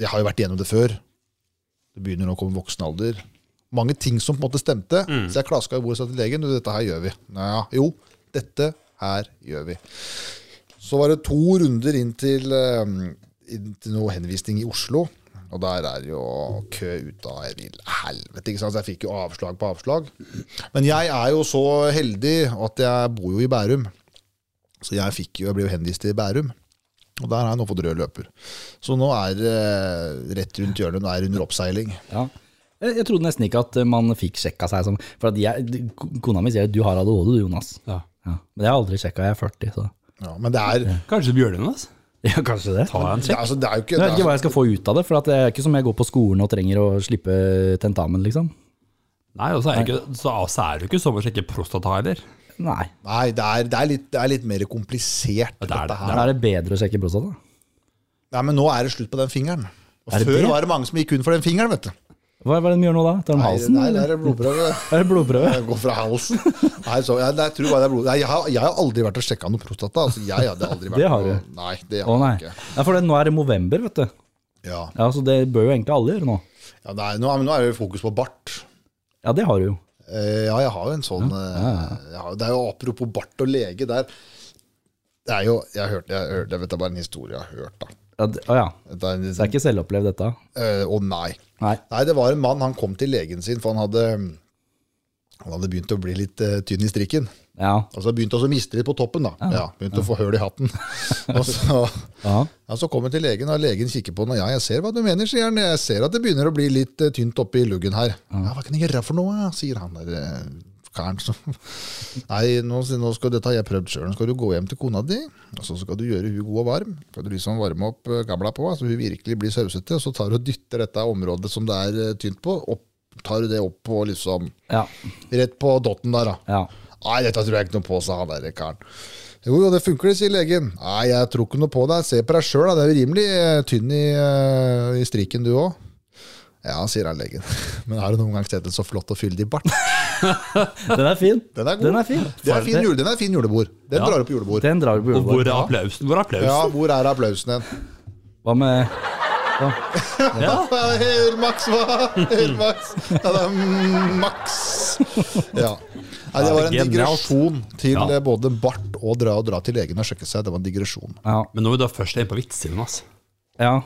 Speaker 3: jeg har jo vært igjennom det før. Det begynner nå å komme voksen alder. Mange ting som på en måte stemte. Så jeg klaska i bordet og sa til legen du, dette her gjør vi. Naja, jo, dette her gjør vi. Så var det to runder inn til, eh, inn til noe henvisning i Oslo. Og der er jo kø ut av jeg vil helvete. ikke sant? Så jeg fikk jo avslag på avslag. Men jeg er jo så heldig at jeg bor jo i Bærum. Så jeg, fikk jo, jeg ble jo henvist til Bærum. Og der har jeg nå fått rød løper. Så nå er eh, rett rundt hjørnet, nå er det under oppseiling.
Speaker 2: Ja. Jeg, jeg trodde nesten ikke at man fikk sjekka seg som For at jeg, kona mi sier du har ADHD, du, Jonas.
Speaker 1: Ja.
Speaker 2: Ja. Men jeg har aldri sjekka, jeg er 40, så
Speaker 3: Ja, men det er,
Speaker 1: Kanskje Bjørlund, altså?
Speaker 2: Ja, kanskje det.
Speaker 1: Ta deg en
Speaker 3: det, er-
Speaker 1: sjekk.
Speaker 3: altså, det er jo ikke,
Speaker 2: Jeg
Speaker 3: det
Speaker 2: vet ikke
Speaker 3: er,
Speaker 2: hva jeg skal få ut av det, for at det er ikke som jeg går på skolen og trenger å slippe tentamen, liksom.
Speaker 1: Nei, og så er, det ikke, så, så er det jo ikke som å sjekke prostata heller.
Speaker 2: Nei.
Speaker 3: altså- nei, det er, det, er litt, det er litt mer komplisert,
Speaker 1: Ja, det er det.
Speaker 3: dette her.
Speaker 2: Da er det bedre å sjekke prostata.
Speaker 3: Nei, men nå er det slutt på den fingeren. Og
Speaker 2: Er det
Speaker 3: før
Speaker 2: det?
Speaker 3: var det mange som gikk kun for den fingeren, vet du.
Speaker 2: Hva, hva er det de gjør nå da? Tar de
Speaker 3: Nei,
Speaker 2: halsen?
Speaker 3: nei, det
Speaker 2: eller?
Speaker 3: er blodprøve.
Speaker 2: Er det blodprøve?
Speaker 3: Det går fra halsen. Nei, så, jeg, jeg tror bare det er blod. Nei, jeg, har, jeg har aldri vært og sjekka noe prostata. Altså, jeg hadde aldri vært
Speaker 2: Det har
Speaker 3: og-
Speaker 2: du.
Speaker 3: Nei, det
Speaker 2: Å
Speaker 3: har
Speaker 2: nei.
Speaker 3: jeg ikke.
Speaker 2: Ja, for det, nå er det november, vet du.
Speaker 3: Ja.
Speaker 2: Ja, Så det bør jo egentlig alle gjøre nå.
Speaker 3: Ja, nei, nå, men nå er det jo fokus på bart.
Speaker 2: Ja, det har du jo.
Speaker 3: Eh, ja, jeg har jo en sånn eh, jeg har- Det er jo apropos bart og lege der. Det er jo Jeg hørte, jeg hørte jeg vet, Det er bare en historie jeg har hørt, da.
Speaker 2: Ja, det, å ja.
Speaker 3: Dette er en,
Speaker 2: Så det er ikke selvopplevd, dette?
Speaker 3: eh, å nei.
Speaker 2: Nei.
Speaker 3: Nei, det var en mann, han kom til legen sin, for han hadde han hadde begynt å bli litt eh, tynn i strikken.
Speaker 2: Ja.
Speaker 3: Altså begynte å miste litt på toppen, da. Ja, begynte å få høl i hatten. og så,
Speaker 2: ja.
Speaker 3: ja, så kommer han til legen, og legen kikker på han. og Ja, jeg ser hva du mener, sier han. Jeg ser at det begynner å bli litt eh, tynt oppi luggen her. Ja, hva kan jeg gjøre for noe, sier han der eh, karen. som- Nei, nå, nå skal dette har jeg prøvd sjøl. Nå skal du gå hjem til kona di, og så skal du gjøre hun god og varm. Skal du liksom varme opp eh, gamla på, så hun virkelig blir sausete. Og så tar du og dytter dette området som det er eh, tynt på, opp, tar du det opp på liksom
Speaker 2: Ja.
Speaker 3: Rett på dotten der, da.
Speaker 2: ja.
Speaker 3: Nei, dette tror jeg ikke noe på, sa han der karen. Jo, jo, det funker det, sier legen. Nei, jeg tror ikke noe på deg. Se på deg sjøl, da. Det er jo rimelig eh, tynn i, eh, i strikken, du òg. Ja, sier han legen. Men har du noen gang sett en så flott og fyldig bart?
Speaker 2: Den er fin.
Speaker 3: Den er god.
Speaker 2: Den er fin.
Speaker 3: Det er fin, jule, den er fin julebord. Den
Speaker 2: Ja.
Speaker 3: drar opp julebord.
Speaker 2: Den drar vi på
Speaker 1: Og hvor
Speaker 2: julebord.
Speaker 1: er applausen? Hvor er applausen?
Speaker 3: Ja, hvor er applausen hen?
Speaker 2: Hva med
Speaker 3: Ah. Hør, Max, hva? Hør, Max. Ja, det er mm, Max. Ja. Nei, det var en
Speaker 1: Genialt.
Speaker 3: digresjon til
Speaker 1: Ja.
Speaker 3: eh, både bart og dra og dra til legen og sjekke seg. Det var en digresjon.
Speaker 2: Ja.
Speaker 1: Men når vi da først er inne på vitser, Jonas,
Speaker 2: ja.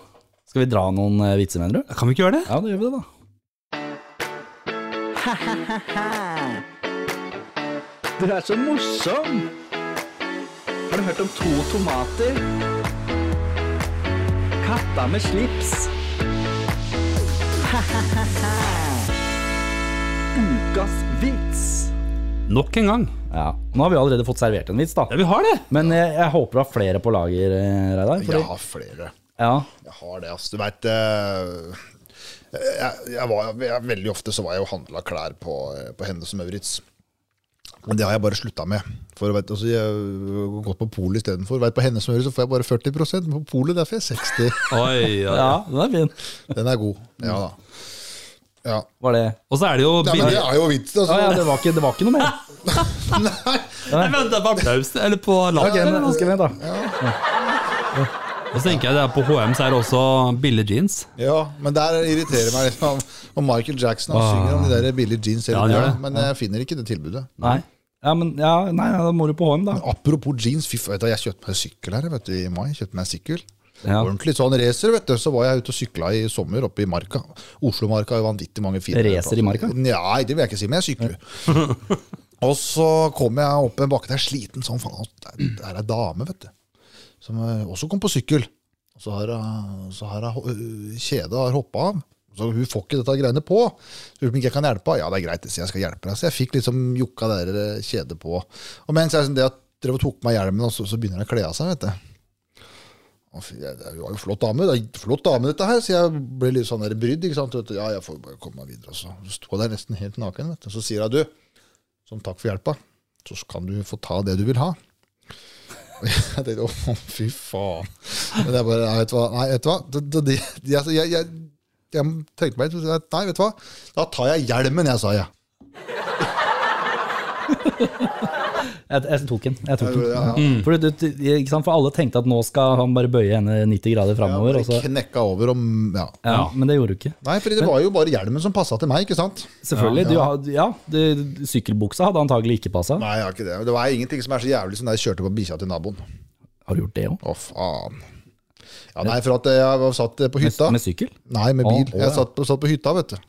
Speaker 2: Skal vi dra noen eh, vitser, mener du?
Speaker 1: kan vi ikke gjøre det?
Speaker 2: Ja, da gjør vi det, da. Du er så morsom! Har du hørt om to tomater? Katta med slips. Ukas vits.
Speaker 1: Nok en gang.
Speaker 2: Ja, Nå har vi allerede fått servert en vits, da.
Speaker 1: Ja, vi har det.
Speaker 2: Men jeg, jeg håper du har flere på lager, eh, Reidar.
Speaker 3: Jeg
Speaker 2: fordi-
Speaker 3: har flere.
Speaker 2: Ja.
Speaker 3: Jeg har det, altså. Du veit jeg, jeg var, jeg, Veldig ofte så var jeg og handla klær på, eh, på Hennes og Maurits. Men det har jeg bare slutta med. For vet, du, altså, Jeg har gått på polet istedenfor. Vet, På Hennes og Maurits så får jeg bare 40 men på polet der får jeg 60
Speaker 1: Oi, ja.
Speaker 2: ja, den er fin.
Speaker 3: Den er god. Ja da. Ja.
Speaker 2: Var det
Speaker 1: Og så er det jo
Speaker 3: Nei, men det er jo vitsen,
Speaker 2: Å ja,
Speaker 3: altså.
Speaker 2: det var ikke, det var ikke noe mer.
Speaker 3: Nei.
Speaker 1: Nei, vent, det er på applausen, eller på latter. eller noe.
Speaker 2: skal vi da.
Speaker 1: Og så tenker jeg det er på HM så er det også Billie Jeans.
Speaker 3: Ja, men der irriterer meg litt om, om Michael Jackson. Han synger om de der billige jeans hele
Speaker 1: Ah. Ja, han gjør
Speaker 3: tiden,
Speaker 1: det.
Speaker 3: men jeg finner ikke det tilbudet.
Speaker 2: Nei. Ja, men ja, nei, ja, da må du på HM, da.
Speaker 3: Apropos jeans, fy faen, vet du, jeg kjøpte meg sykkel her vet du, i mai. Jeg kjøpte meg sykkel.
Speaker 2: Ja.
Speaker 3: Ordentlig sånn racer, vet du. Så var jeg ute og sykla i sommer oppe i Marka. Oslomarka har jo vanvittig mange fine
Speaker 2: Racer i Marka?
Speaker 3: Nei, det vil jeg ikke si, men jeg sykler. og så kom jeg opp en bakke der sliten som faen. og Der der er ei dame, vet du, som eh, også kom på sykkel. Og Så har hun- så har hun- kjedet har hoppa av. Så hun får ikke dette greiene på. Så hun om ikke jeg kan hjelpe henne. Ja, det er greit, så jeg skal hjelpe deg. Så jeg fikk liksom jokka det der, eh, kjedet på. Og mens jeg sånn, det at drev og tok meg hjelmen, og så, så begynner hun å kle av seg, vet du. Og fy, jeg- Det var jo flott dame, det er flott dame dette her, så jeg ble litt sånn der brydd. ikke sant? Vet du, Ja, jeg får bare komme meg videre. også. Så sto jeg der nesten helt naken, vet du. så sier jeg du, som takk for hjelpa, så kan du få ta det du vil ha. Og jeg tenkte å, fy faen. Men jeg bare, nei, vet du hva, nei, vet du hva? Det, det, det, altså, jeg, jeg, jeg tenkte meg litt, så jeg, nei, vet du hva, da tar jeg hjelmen, jeg sa jeg.
Speaker 2: Jeg, jeg tok den. Jeg tok den.
Speaker 3: Ja, ja, ja.
Speaker 2: For, du, du, ikke sant? For alle tenkte at nå skal han bare bøye henne 90 grader
Speaker 3: Jeg
Speaker 2: framover.
Speaker 3: bare
Speaker 2: og så-
Speaker 3: knekka over om, ja.
Speaker 2: ja, altså. men det gjorde du ikke.
Speaker 3: Nei, fordi det var jo bare hjelmen som passa til meg, ikke sant?
Speaker 2: Selvfølgelig. Du had- Ja, du, sykkelbuksa hadde antagelig ikke passa.
Speaker 3: Nei, jeg har ikke det. Det var ingenting som er så jævlig som da jeg kjørte på bikkja til naboen.
Speaker 2: Har du gjort det òg?
Speaker 3: Å, faen. Ja, nei, for at eh, jeg var satt på hytta.
Speaker 2: Med sykkel?
Speaker 3: Nei, med bil.
Speaker 2: Å, å, ja.
Speaker 3: Jeg satt på, satt på hytta, vet du.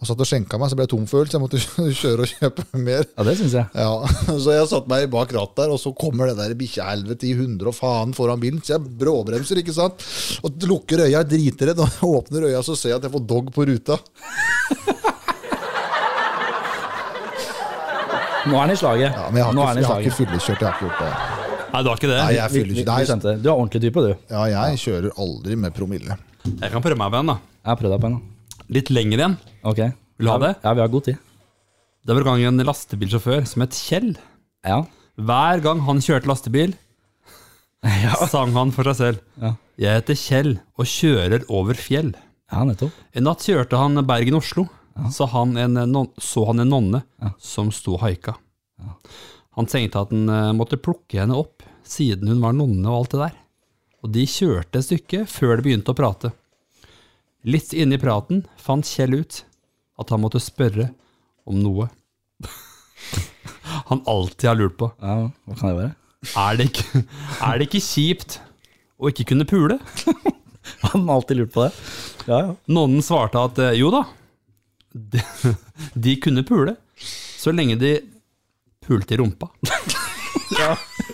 Speaker 3: Og satt og skjenka meg, så ble jeg tomfølt, så jeg måtte kjøre og kjøpe mer.
Speaker 2: Ja, det syns jeg.
Speaker 3: Ja, Så jeg satte meg bak rattet der, og så kommer det der bikkjehelvetet i hundre og faen foran bilen. Så jeg bråbremser, ikke sant. Og lukker øya, er dritredd, og åpner øya, så ser jeg at jeg får dog på ruta.
Speaker 2: Nå er han i slaget.
Speaker 3: Ja, Men jeg har
Speaker 2: Nå er han i
Speaker 3: ikke, jeg har
Speaker 2: slaget.
Speaker 3: ikke fyllekjørt, jeg har ikke gjort det.
Speaker 1: Nei, du har ikke det?
Speaker 3: Nei, jeg
Speaker 2: Vi-
Speaker 3: fyller
Speaker 2: vi- vi
Speaker 3: ikke. Nei,
Speaker 2: skjønte det. Du er ordentlig type, du.
Speaker 3: Ja, jeg kjører aldri med promille.
Speaker 1: Jeg kan prøve meg på en, da.
Speaker 2: Jeg har prøvd deg på en. da.
Speaker 1: Litt lenger igjen.
Speaker 2: Ok.
Speaker 1: Vil du ha
Speaker 2: Ja,
Speaker 1: det?
Speaker 2: Ja, vi har god tid.
Speaker 1: Det var en gang en lastebilsjåfør som het Kjell.
Speaker 2: Ja.
Speaker 1: Hver gang han kjørte lastebil, sang han for seg selv.
Speaker 2: Ja.
Speaker 1: Jeg heter Kjell og kjører over fjell.
Speaker 2: ja, nettopp.
Speaker 1: En natt kjørte han Bergen-Oslo, så, han en eh, non- så han en nonne som sto og haika. Han tenkte at han eh, måtte plukke henne opp, siden hun var nonne og alt det der. Og de kjørte et stykke før de begynte å prate. Litt inne i praten fant Kjell ut at han måtte spørre om noe. han alltid har lurt på.
Speaker 2: Ja, hva kan det være?
Speaker 1: Er det ikke, er det ikke kjipt å ikke kunne pule?
Speaker 2: Han har alltid lurt på det. Ja, ja.
Speaker 1: Nonnen svarte at eh, jo da, de, de kunne pule, så lenge de pulte i rumpa.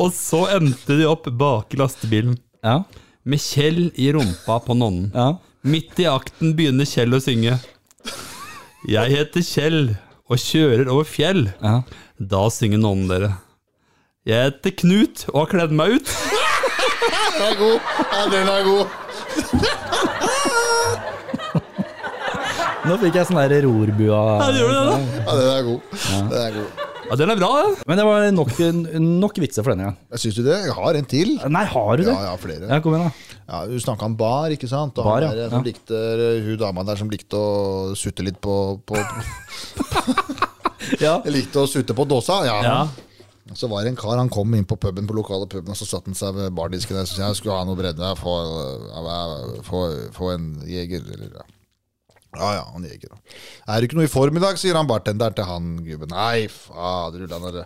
Speaker 1: Og så endte de opp bak i lastebilen,
Speaker 2: Ja,
Speaker 1: med Kjell i rumpa på nonnen.
Speaker 2: ja.
Speaker 1: Midt i akten begynner Kjell å synge. Jeg heter Kjell og kjører over fjell.
Speaker 2: ja.
Speaker 1: Da synger nonnen dere. Jeg heter Knut og har kledd meg ut.
Speaker 3: Den er god! Ja, den er god!
Speaker 2: Nå fikk jeg sånn der rorbua
Speaker 3: Ja, den er god. Den er god.
Speaker 1: Ja, den er bra, den.
Speaker 2: Men det var nok, nok vitser for denne gang.
Speaker 3: Jeg Syns du det? Jeg har en til.
Speaker 2: Nei, har du det?
Speaker 3: Ja, jeg har flere.
Speaker 2: Ja, kom igjen, da.
Speaker 3: Ja, Du snakka om bar, ikke sant? Og
Speaker 2: Bar,
Speaker 3: bar,
Speaker 2: ja.
Speaker 3: ja. der, eh, som
Speaker 2: Ja.
Speaker 3: likte, hun dama der som likte å sutte litt på, på
Speaker 2: Ja.
Speaker 3: Likte å sutte på dåsa. Ja.
Speaker 1: Ja.
Speaker 3: Så var det en kar, han kom inn på puben på lokale puben, og så satte han seg ved bardisken der. Så sa jeg skulle ha noe brennende, få, ja, få, få en jeger, eller ja. Ja, ja, han jeger. da. Er det ikke noe i form i dag, sier han bartenderen til han gubben. Nei, fader, ulla narre.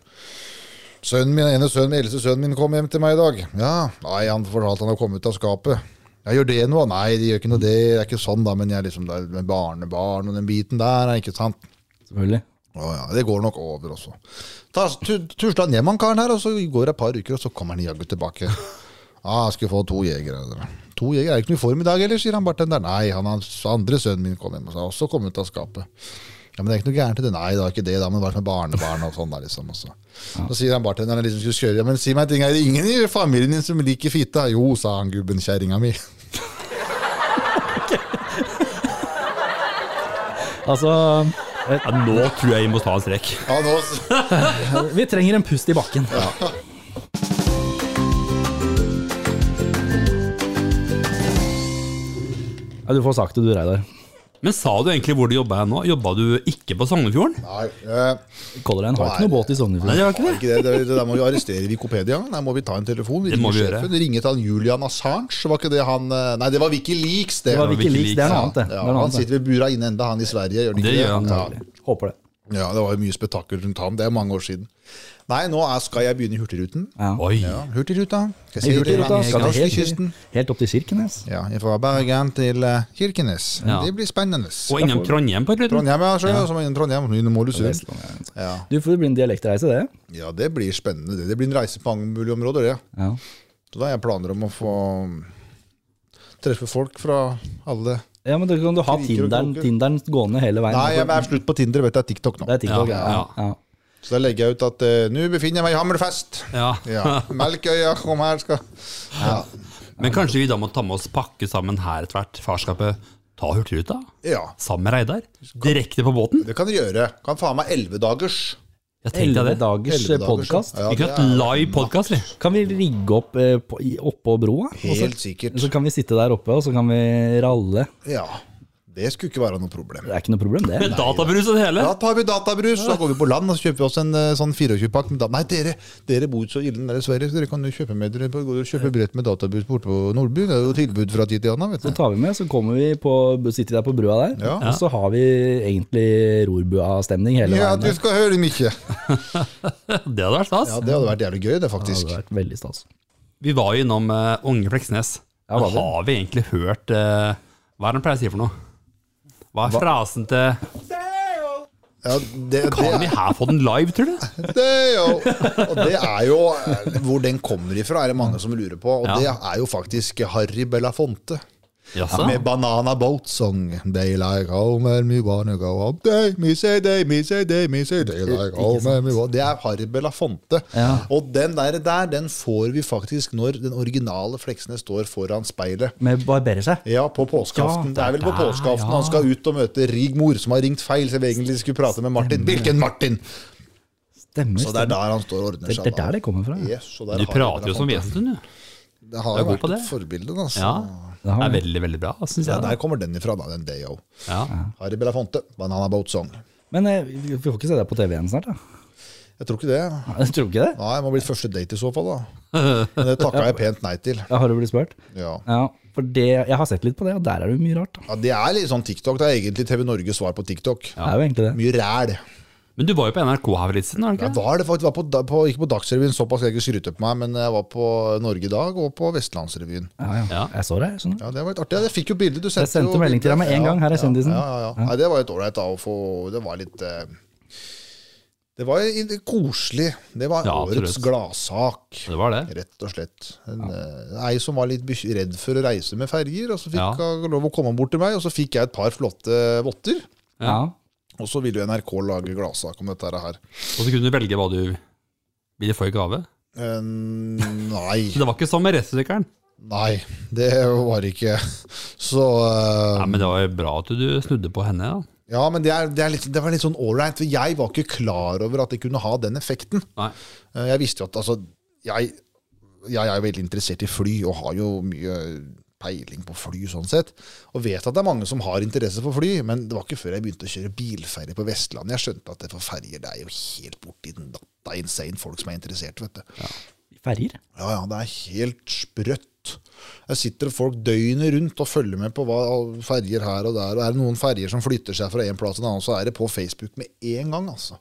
Speaker 3: Sønnen min, ene sønnen min, eldste sønnen min kom hjem til meg i dag. Ja, nei, han fortalte han har kommet ut av skapet. Ja, gjør det noe? Nei, det gjør ikke noe det, det er ikke sånn da, men jeg er liksom der med barnebarn og den biten der, ikke sant?
Speaker 2: Selvfølgelig.
Speaker 3: Å ja, det går nok over også. Ta- tu- Tusla ned med han karen her, og så går det et par uker, og så kommer han jaggu tilbake. Ja, ah, jeg skulle få to jegere. dere. To jegere er ikke noe i form i dag heller, sier han bartenderen. Nei, han hans andre sønnen min kom hjem og sa også kom ut av skapet. Ja, men det er ikke noe gærent i det. Nei, det var ikke det, da, men bare med barnebarn og sånn da, liksom. Også. Så sier han bartenderen liksom skulle kjøre, ja, men si meg en ting, er det ingen i familien din som liker fitta? Jo, sa han gubben, kjerringa mi.
Speaker 2: Altså,
Speaker 1: Ja, nå tror jeg vi må ta en strekk.
Speaker 3: Ja, nå...
Speaker 2: eh, vi trenger en pust i bakken. Ja, du får sagt det, du, Reidar.
Speaker 1: Men sa du egentlig hvor du jobba nå? Jobba du ikke på Sognefjorden?
Speaker 3: Nei, eh,
Speaker 2: Color Line har ikke noe båt i
Speaker 1: Nei,
Speaker 2: Sognefjord.
Speaker 1: det var ikke
Speaker 3: Nei,
Speaker 1: det.
Speaker 3: ikke det. Det, det der må vi arrestere Wikipedia. Der må vi ta en telefon. Vi
Speaker 1: Det må
Speaker 3: ringer
Speaker 1: vi gjøre.
Speaker 3: sjefen. Ringe til han Julian Assange. Var ikke det han eh, Nei, det var Wikileaks,
Speaker 2: Det
Speaker 3: det.
Speaker 2: var Wikileaks, det er noe
Speaker 3: Ja,
Speaker 2: annet, det. det,
Speaker 3: ja,
Speaker 2: er noe
Speaker 3: han
Speaker 2: annet, det.
Speaker 3: sitter ved bura inne enda han i Sverige, gjør han ikke
Speaker 1: Det
Speaker 3: det?
Speaker 1: gjør han,
Speaker 3: ja.
Speaker 2: Håper det.
Speaker 3: ja, det var jo mye spetakkel rundt ham. Det er mange år siden. Nei, nå er, skal jeg begynne i Hurtigruten.
Speaker 2: Ja.
Speaker 1: Oi.
Speaker 3: Ja, Hurtigruta.
Speaker 2: I
Speaker 3: Skal se
Speaker 2: Hurtigruta
Speaker 3: Skal
Speaker 2: skal det helt,
Speaker 3: norskekysten.
Speaker 2: helt opp til Kirkenes.
Speaker 3: Ja, fra Bergen til eh, Kirkenes.
Speaker 1: Ja.
Speaker 3: Det blir spennende.
Speaker 1: Og innom Trondheim på slutten.
Speaker 3: Trondheim, ja. Så, ja. så må jeg innom Trondheim, innom Ålesund. Ja.
Speaker 2: Du får bli en dialektreise, det.
Speaker 3: ja, det blir spennende. det. Det blir en reise på mange mulige områder, det.
Speaker 2: Ja.
Speaker 3: Så da har jeg planer om å få treffe folk fra alle
Speaker 2: ja, men da kan du ha
Speaker 3: Kriker og
Speaker 2: Tinderen,
Speaker 3: kroker.
Speaker 2: Tinderen gående hele veien.
Speaker 3: Nei, jeg er slutt på Tinder, vet jeg. TikTok nå.
Speaker 2: Det er TikTok,
Speaker 1: Ja,
Speaker 2: ja. ja.
Speaker 3: Så da legger jeg ut at eh, 'nå befinner jeg meg i Hammerfest'.
Speaker 1: Ja.
Speaker 3: Ja. Melkøya, kom her, skal Ja.
Speaker 1: Men kanskje vi da må ta med oss pakke sammen her etter hvert, farskapet. Ta Hurtigruta
Speaker 3: ja.
Speaker 1: sammen med Reidar. Direkte på båten.
Speaker 3: Det kan dere gjøre. Kan faen meg ellevedagers.
Speaker 1: Jeg tenkte
Speaker 2: Elleve
Speaker 1: jeg det.
Speaker 2: dagers podkast.
Speaker 1: Vi kunne hatt live podkast, vi.
Speaker 2: Kan vi rigge opp eh, på- i- oppå broa? Og så-
Speaker 3: Helt sikkert.
Speaker 2: Så kan vi sitte der oppe, og så kan vi ralle.
Speaker 3: Ja. Det skulle ikke være noe problem.
Speaker 2: Det er ikke noe problem, det.
Speaker 1: Med databrus og det hele.
Speaker 3: Da tar vi databrus, så da går vi på land og så kjøper vi oss en eh, sånn 24-pakk med data... Nei, dere, dere bor så ille nede i Sverige, så dere kan jo kjøpe med dere på- gå og kjøpe brett med databrus borte på Nordby. Det er jo tilbud fra tid til annen, vet
Speaker 2: Så
Speaker 3: du.
Speaker 2: tar vi med, så kommer vi på, sitter vi der på brua der,
Speaker 3: Ja.
Speaker 2: og så har vi egentlig rorbua-stemning hele
Speaker 3: Ja,
Speaker 2: veien.
Speaker 3: du skal høre mye.
Speaker 1: Det hadde vært stas.
Speaker 3: Ja, det hadde vært jævlig gøy, det,
Speaker 2: Det hadde
Speaker 3: faktisk.
Speaker 2: vært veldig stas.
Speaker 1: Vi var jo innom eh, Unge Fleksnes.
Speaker 2: Ja, var
Speaker 1: Men
Speaker 2: vi?
Speaker 1: har vi egentlig hørt eh, Hva er det han pleier å si for noe? Hva er frasen til
Speaker 3: Ja, det, det,
Speaker 1: Kan vi her få den live, tror du?
Speaker 3: Det er jo, og det er jo eh, Hvor den kommer ifra, er det mange som lurer på. Og
Speaker 1: Ja.
Speaker 3: det er jo faktisk Harry Belafonte.
Speaker 1: Jaså?
Speaker 3: Med Banana Boat Song. They like home and we wanna go up they, me say they, me say they, me say they like home and we wanna Det er Harry Belafonte.
Speaker 2: Ja.
Speaker 3: Og den der, der, den får vi faktisk når den originale Fleksnes står foran speilet.
Speaker 2: Med barberer seg.
Speaker 3: Ja, på
Speaker 1: Ja,
Speaker 3: påskeaften. det er vel på
Speaker 1: der,
Speaker 3: påskeaften
Speaker 1: ja.
Speaker 3: han skal ut og møte Rigmor, som har ringt feil, som egentlig skulle prate med Martin. Hvilken Martin?!
Speaker 2: Stemmer.
Speaker 3: Så det er
Speaker 2: stemmer.
Speaker 3: der han står og ordner
Speaker 2: Det,
Speaker 3: seg.
Speaker 2: det er
Speaker 3: da.
Speaker 2: der det kommer fra. ja.
Speaker 3: Yes, og der
Speaker 1: Du
Speaker 3: har
Speaker 1: prater
Speaker 3: jeg
Speaker 1: jo som
Speaker 3: Belafonte.
Speaker 1: vesen, du.
Speaker 3: Det
Speaker 1: Du
Speaker 3: har
Speaker 1: er
Speaker 3: jo
Speaker 1: god
Speaker 3: vært
Speaker 1: på det.
Speaker 3: et forbilde, altså.
Speaker 1: Ja.
Speaker 2: Det har
Speaker 1: Det er
Speaker 2: vi.
Speaker 1: veldig, veldig bra, syns
Speaker 3: Ja,
Speaker 1: jeg. da.
Speaker 3: der kommer den ifra, da. Den Dayo.
Speaker 1: Ja.
Speaker 3: Harry Belafonte, Banana Boat Song.
Speaker 2: Men eh, vi vi får ikke se deg på TV igjen snart, da?
Speaker 3: Jeg tror ikke det.
Speaker 2: Jeg tror ikke det.
Speaker 3: Nei, det må bli første date i så fall, da. Men det takka jeg pent nei til.
Speaker 2: Jeg har jo blitt spurt.
Speaker 3: Ja.
Speaker 2: Ja, for det, jeg har sett litt på det, og der er det jo mye rart. Da.
Speaker 3: ja, Det er litt sånn TikTok. Det er egentlig TV Norges svar på TikTok.
Speaker 2: Det er jo egentlig det.
Speaker 3: Mye ræl.
Speaker 1: Men du var jo på NRK her for litt siden, var du
Speaker 3: Jeg
Speaker 1: ikke?
Speaker 3: var det faktisk, var på, da- på, ikke på Dagsrevyen, såpass skal jeg ikke skryte på meg, men jeg var på Norge i dag og på Vestlandsrevyen.
Speaker 2: Ja, ja.
Speaker 1: Ja.
Speaker 2: Jeg så deg, skjønner du.
Speaker 3: Ja, Det var litt artig. Jeg fikk jo bilde. Du
Speaker 2: Jeg sendte
Speaker 3: jo
Speaker 2: melding til deg med en gang, her er kjendisen.
Speaker 3: Ja, ja, ja. Nei, det var litt ålreit da, å få Det var litt eh, Det var i- koselig. Det var
Speaker 1: Ja,
Speaker 3: årets
Speaker 1: absolutt.
Speaker 3: gladsak,
Speaker 1: Det var det.
Speaker 3: rett og slett. En, eh, Ei som var litt beky- redd for å reise med ferger, og så fikk
Speaker 1: Ja.
Speaker 3: hun lov å komme bort til meg, og så fikk jeg et par flotte votter.
Speaker 2: Ja.
Speaker 3: Og så ville jo NRK lage gladsak om dette her.
Speaker 1: Og så kunne du velge hva du ville få i gave.
Speaker 3: Eh, nei.
Speaker 1: Så det var ikke sånn med restsykkelen.
Speaker 3: Nei, det var ikke Så eh,
Speaker 1: Nei, men det var jo bra at du snudde på henne. da.
Speaker 3: Ja, men det, er, det, er litt, det var litt sånn ålreit, for jeg var ikke klar over at det kunne ha den effekten.
Speaker 1: Nei.
Speaker 3: Eh, Jeg visste jo at altså, jeg, jeg er jo veldig interessert i fly, og har jo mye peiling på fly sånn sett, og vet at det er mange som har interesse for fly, men det var ikke før jeg begynte å kjøre bilferie på Vestlandet, jeg skjønte at det for ferjer, det er jo helt borti den natta insane folk som er interessert, vet du.
Speaker 2: Ferger?
Speaker 3: Ja, ja, det er helt sprøtt. Jeg sitter folk døgnet rundt og følger med på hva ferger her og der. Og er det noen ferger som flytter seg fra en plass til en annen, så er det på Facebook med en gang, altså.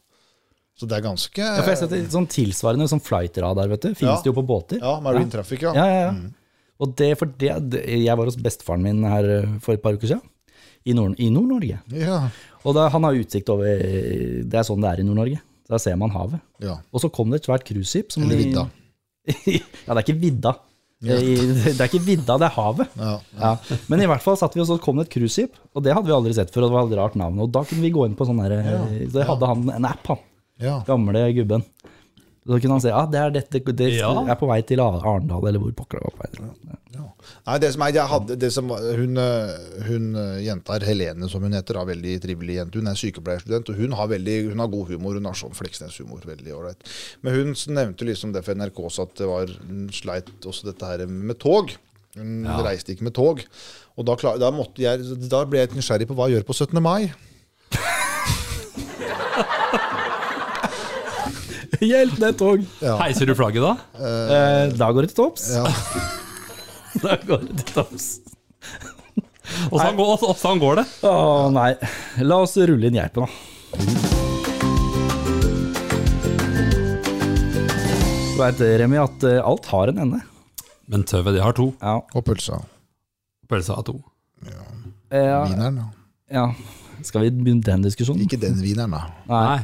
Speaker 3: Så det er ganske
Speaker 2: Ja, for jeg har sett det sånn tilsvarende sånn flightradar, vet du. Fins
Speaker 3: Ja.
Speaker 2: det jo på båter.
Speaker 3: Ja, Mm. Marine Traffic, ja.
Speaker 2: Ja, ja, ja. Og det, for det, det, jeg var hos bestefaren min her eh, for et par uker siden, i Nord- i Nord-Norge.
Speaker 3: Ja.
Speaker 2: og da, han har utsikt over eh, Det er sånn det er i Nord-Norge. Da ser man havet.
Speaker 3: ja.
Speaker 2: Og så kom det et svært cruiseskip. som-
Speaker 3: Eller vidda.
Speaker 2: ja, det er ikke vidda. Eh, I- Det er ikke vidda, det er havet.
Speaker 3: Ja.
Speaker 2: Ja. Men i hvert fall satt vi og så kom det et cruiseskip, og det hadde vi aldri sett før. Og det var et rart navn. Og da kunne vi gå inn på sånn der eh, Så hadde han en app, han
Speaker 3: ja.
Speaker 2: gamle gubben. Så kunne han si ja, det er dette, det
Speaker 1: Ja.
Speaker 2: er på vei til Arendal, eller hvor pokker det var. på vei.
Speaker 3: Nei, det som er, jeg hadde, det som, var- hun, eh, hun eh, jenta her, Helene som hun heter, er veldig trivelig jente. Hun er sykepleierstudent, og hun har, veldig, hun har god humor. Hun har sånn Fleksnes-humor, veldig ålreit. Men hun s- nevnte liksom det for NRK også, at det var, hun sleit også dette her med tog. Hun reiste ikke med tog. Og da, klar, da, måtte jeg, da ble jeg litt nysgjerrig på hva jeg gjør på 17. mai.
Speaker 2: Hjelp, det er tog!
Speaker 1: Heiser du flagget da?
Speaker 2: Eh, da går det til topps.
Speaker 3: Ja.
Speaker 2: Da går det til topps.
Speaker 1: Åssen går, og så- og sånn går det?
Speaker 2: Å nei. La oss rulle inn geipen, da. Du veit, Remi, at eh, alt har en ende.
Speaker 1: Men tøvet, det har to.
Speaker 2: Ja.
Speaker 3: Og pølsa.
Speaker 1: Pølsa har to.
Speaker 2: Eh,
Speaker 3: Wieneren. da.
Speaker 2: ja. Skal vi begynne den diskusjonen?
Speaker 3: Ikke den wieneren, da.
Speaker 1: Nei.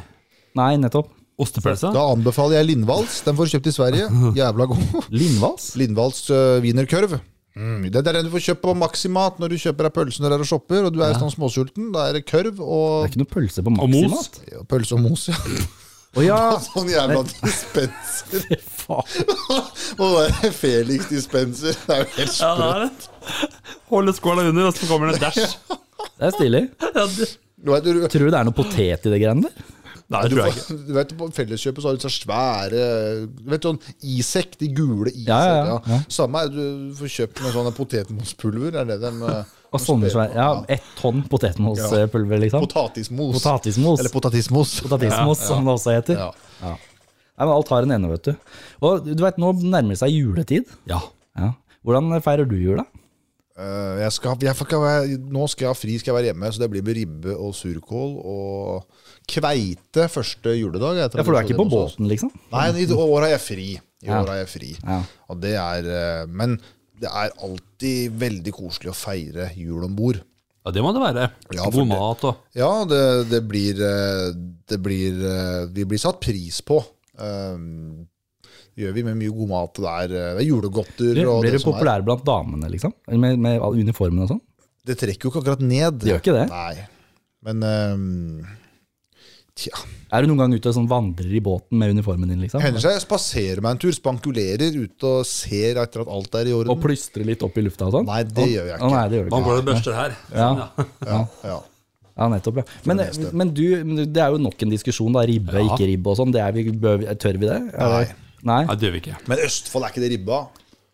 Speaker 2: Nei, nettopp.
Speaker 1: Ostepølsa?
Speaker 3: Da anbefaler jeg Lindvals. Den får du kjøpt i Sverige. Jævla god.
Speaker 2: Lindvals?
Speaker 3: Lindvalls øh, wienerkørv. Mm, Det er den du får kjøpt på Maximat når du kjøper deg pølse når du er og shopper. Og du er sånn småsulten. Da er det kørv
Speaker 2: Det er
Speaker 3: og
Speaker 2: ikke noe pølse på
Speaker 1: Og mos?
Speaker 2: maksimat.
Speaker 3: pølse og mos. Ja.
Speaker 2: Å ja!
Speaker 3: Sånn jævla dispenser.
Speaker 2: Faen.
Speaker 3: Og det er Felix dispenser. Det er jo helt
Speaker 1: Ja, det er det. Holde skåla under, og så kommer det en dash.
Speaker 2: Det er stilig.
Speaker 1: Ja, det-
Speaker 3: Du vet, du,
Speaker 2: Tror du det er noe potet i det greiene der?
Speaker 1: Nei, det
Speaker 3: du,
Speaker 1: tror jeg ikke.
Speaker 3: får- du vet, På Felleskjøpet så har du så svære du vet sånn Isek, de gule Isek.
Speaker 2: Ja,
Speaker 3: Ja,
Speaker 2: ja, ja. Ja.
Speaker 3: Samme er du får kjøpt med sånne potetmospulver. Er det dem, eh,
Speaker 2: Og sånne svære Ja, ett tonn potetmospulver, liksom.
Speaker 3: Potatismos.
Speaker 2: Potatismos.
Speaker 3: Eller potatismos.
Speaker 2: Potatismos, som det også heter.
Speaker 3: Ja.
Speaker 2: Nei, men alt har en ende, vet du. Og du vet, nå nærmer det seg juletid.
Speaker 1: Ja.
Speaker 2: Ja. Hvordan feirer du jula?
Speaker 3: Eh, jeg skal, jeg får ikke være, nå skal jeg ha fri, skal jeg være hjemme, så det blir med ribbe og surkål og kveite første juledag. jeg tror
Speaker 2: Ja, For du er
Speaker 3: det sånn
Speaker 2: ikke på
Speaker 3: hos oss.
Speaker 2: båten, liksom?
Speaker 3: Nei, i år har jeg fri. I
Speaker 2: Ja.
Speaker 3: år har jeg fri.
Speaker 2: Ja.
Speaker 3: Og det er, eh, men det er alltid veldig koselig å feire jul om bord.
Speaker 1: ja, det må det være.
Speaker 3: Ja, for
Speaker 1: God
Speaker 3: det-
Speaker 1: mat og
Speaker 3: Ja, det, det blir eh, Det blir eh, Vi blir satt pris på. Um, Det gjør vi med mye god mat der. eh, Det er julegodter
Speaker 2: Blir,
Speaker 3: og
Speaker 2: blir du
Speaker 3: det som er.
Speaker 2: populær blant damene, liksom? Med, med all uniformen og sånn?
Speaker 3: Det trekker jo ikke akkurat ned.
Speaker 2: Det gjør ikke det.
Speaker 3: Nei. Men ehm, Tja.
Speaker 2: Er du noen gang ute og sånn vandrer i båten med uniformen din, liksom?
Speaker 3: Hender seg jeg spaserer meg en tur, spankulerer ute og ser etter at alt er i orden.
Speaker 2: Og plystrer litt opp i lufta og sånn?
Speaker 3: Nei, det gjør jeg
Speaker 2: Å, nei,
Speaker 3: ikke.
Speaker 2: det gjør du
Speaker 1: Hva
Speaker 2: ikke.
Speaker 1: går det børster her?
Speaker 2: Ja.
Speaker 3: Ja, ja.
Speaker 2: Ja, nettopp, ja. Men,
Speaker 3: meste.
Speaker 2: men du, det er jo nok en diskusjon, da. Ribbe,
Speaker 1: Ja.
Speaker 2: ikke ribbe og sånn. Det er vi, bør vi- tør vi det? Er det- Nei.
Speaker 1: Nei, det gjør vi ikke.
Speaker 3: Men Østfold, er ikke det ribba?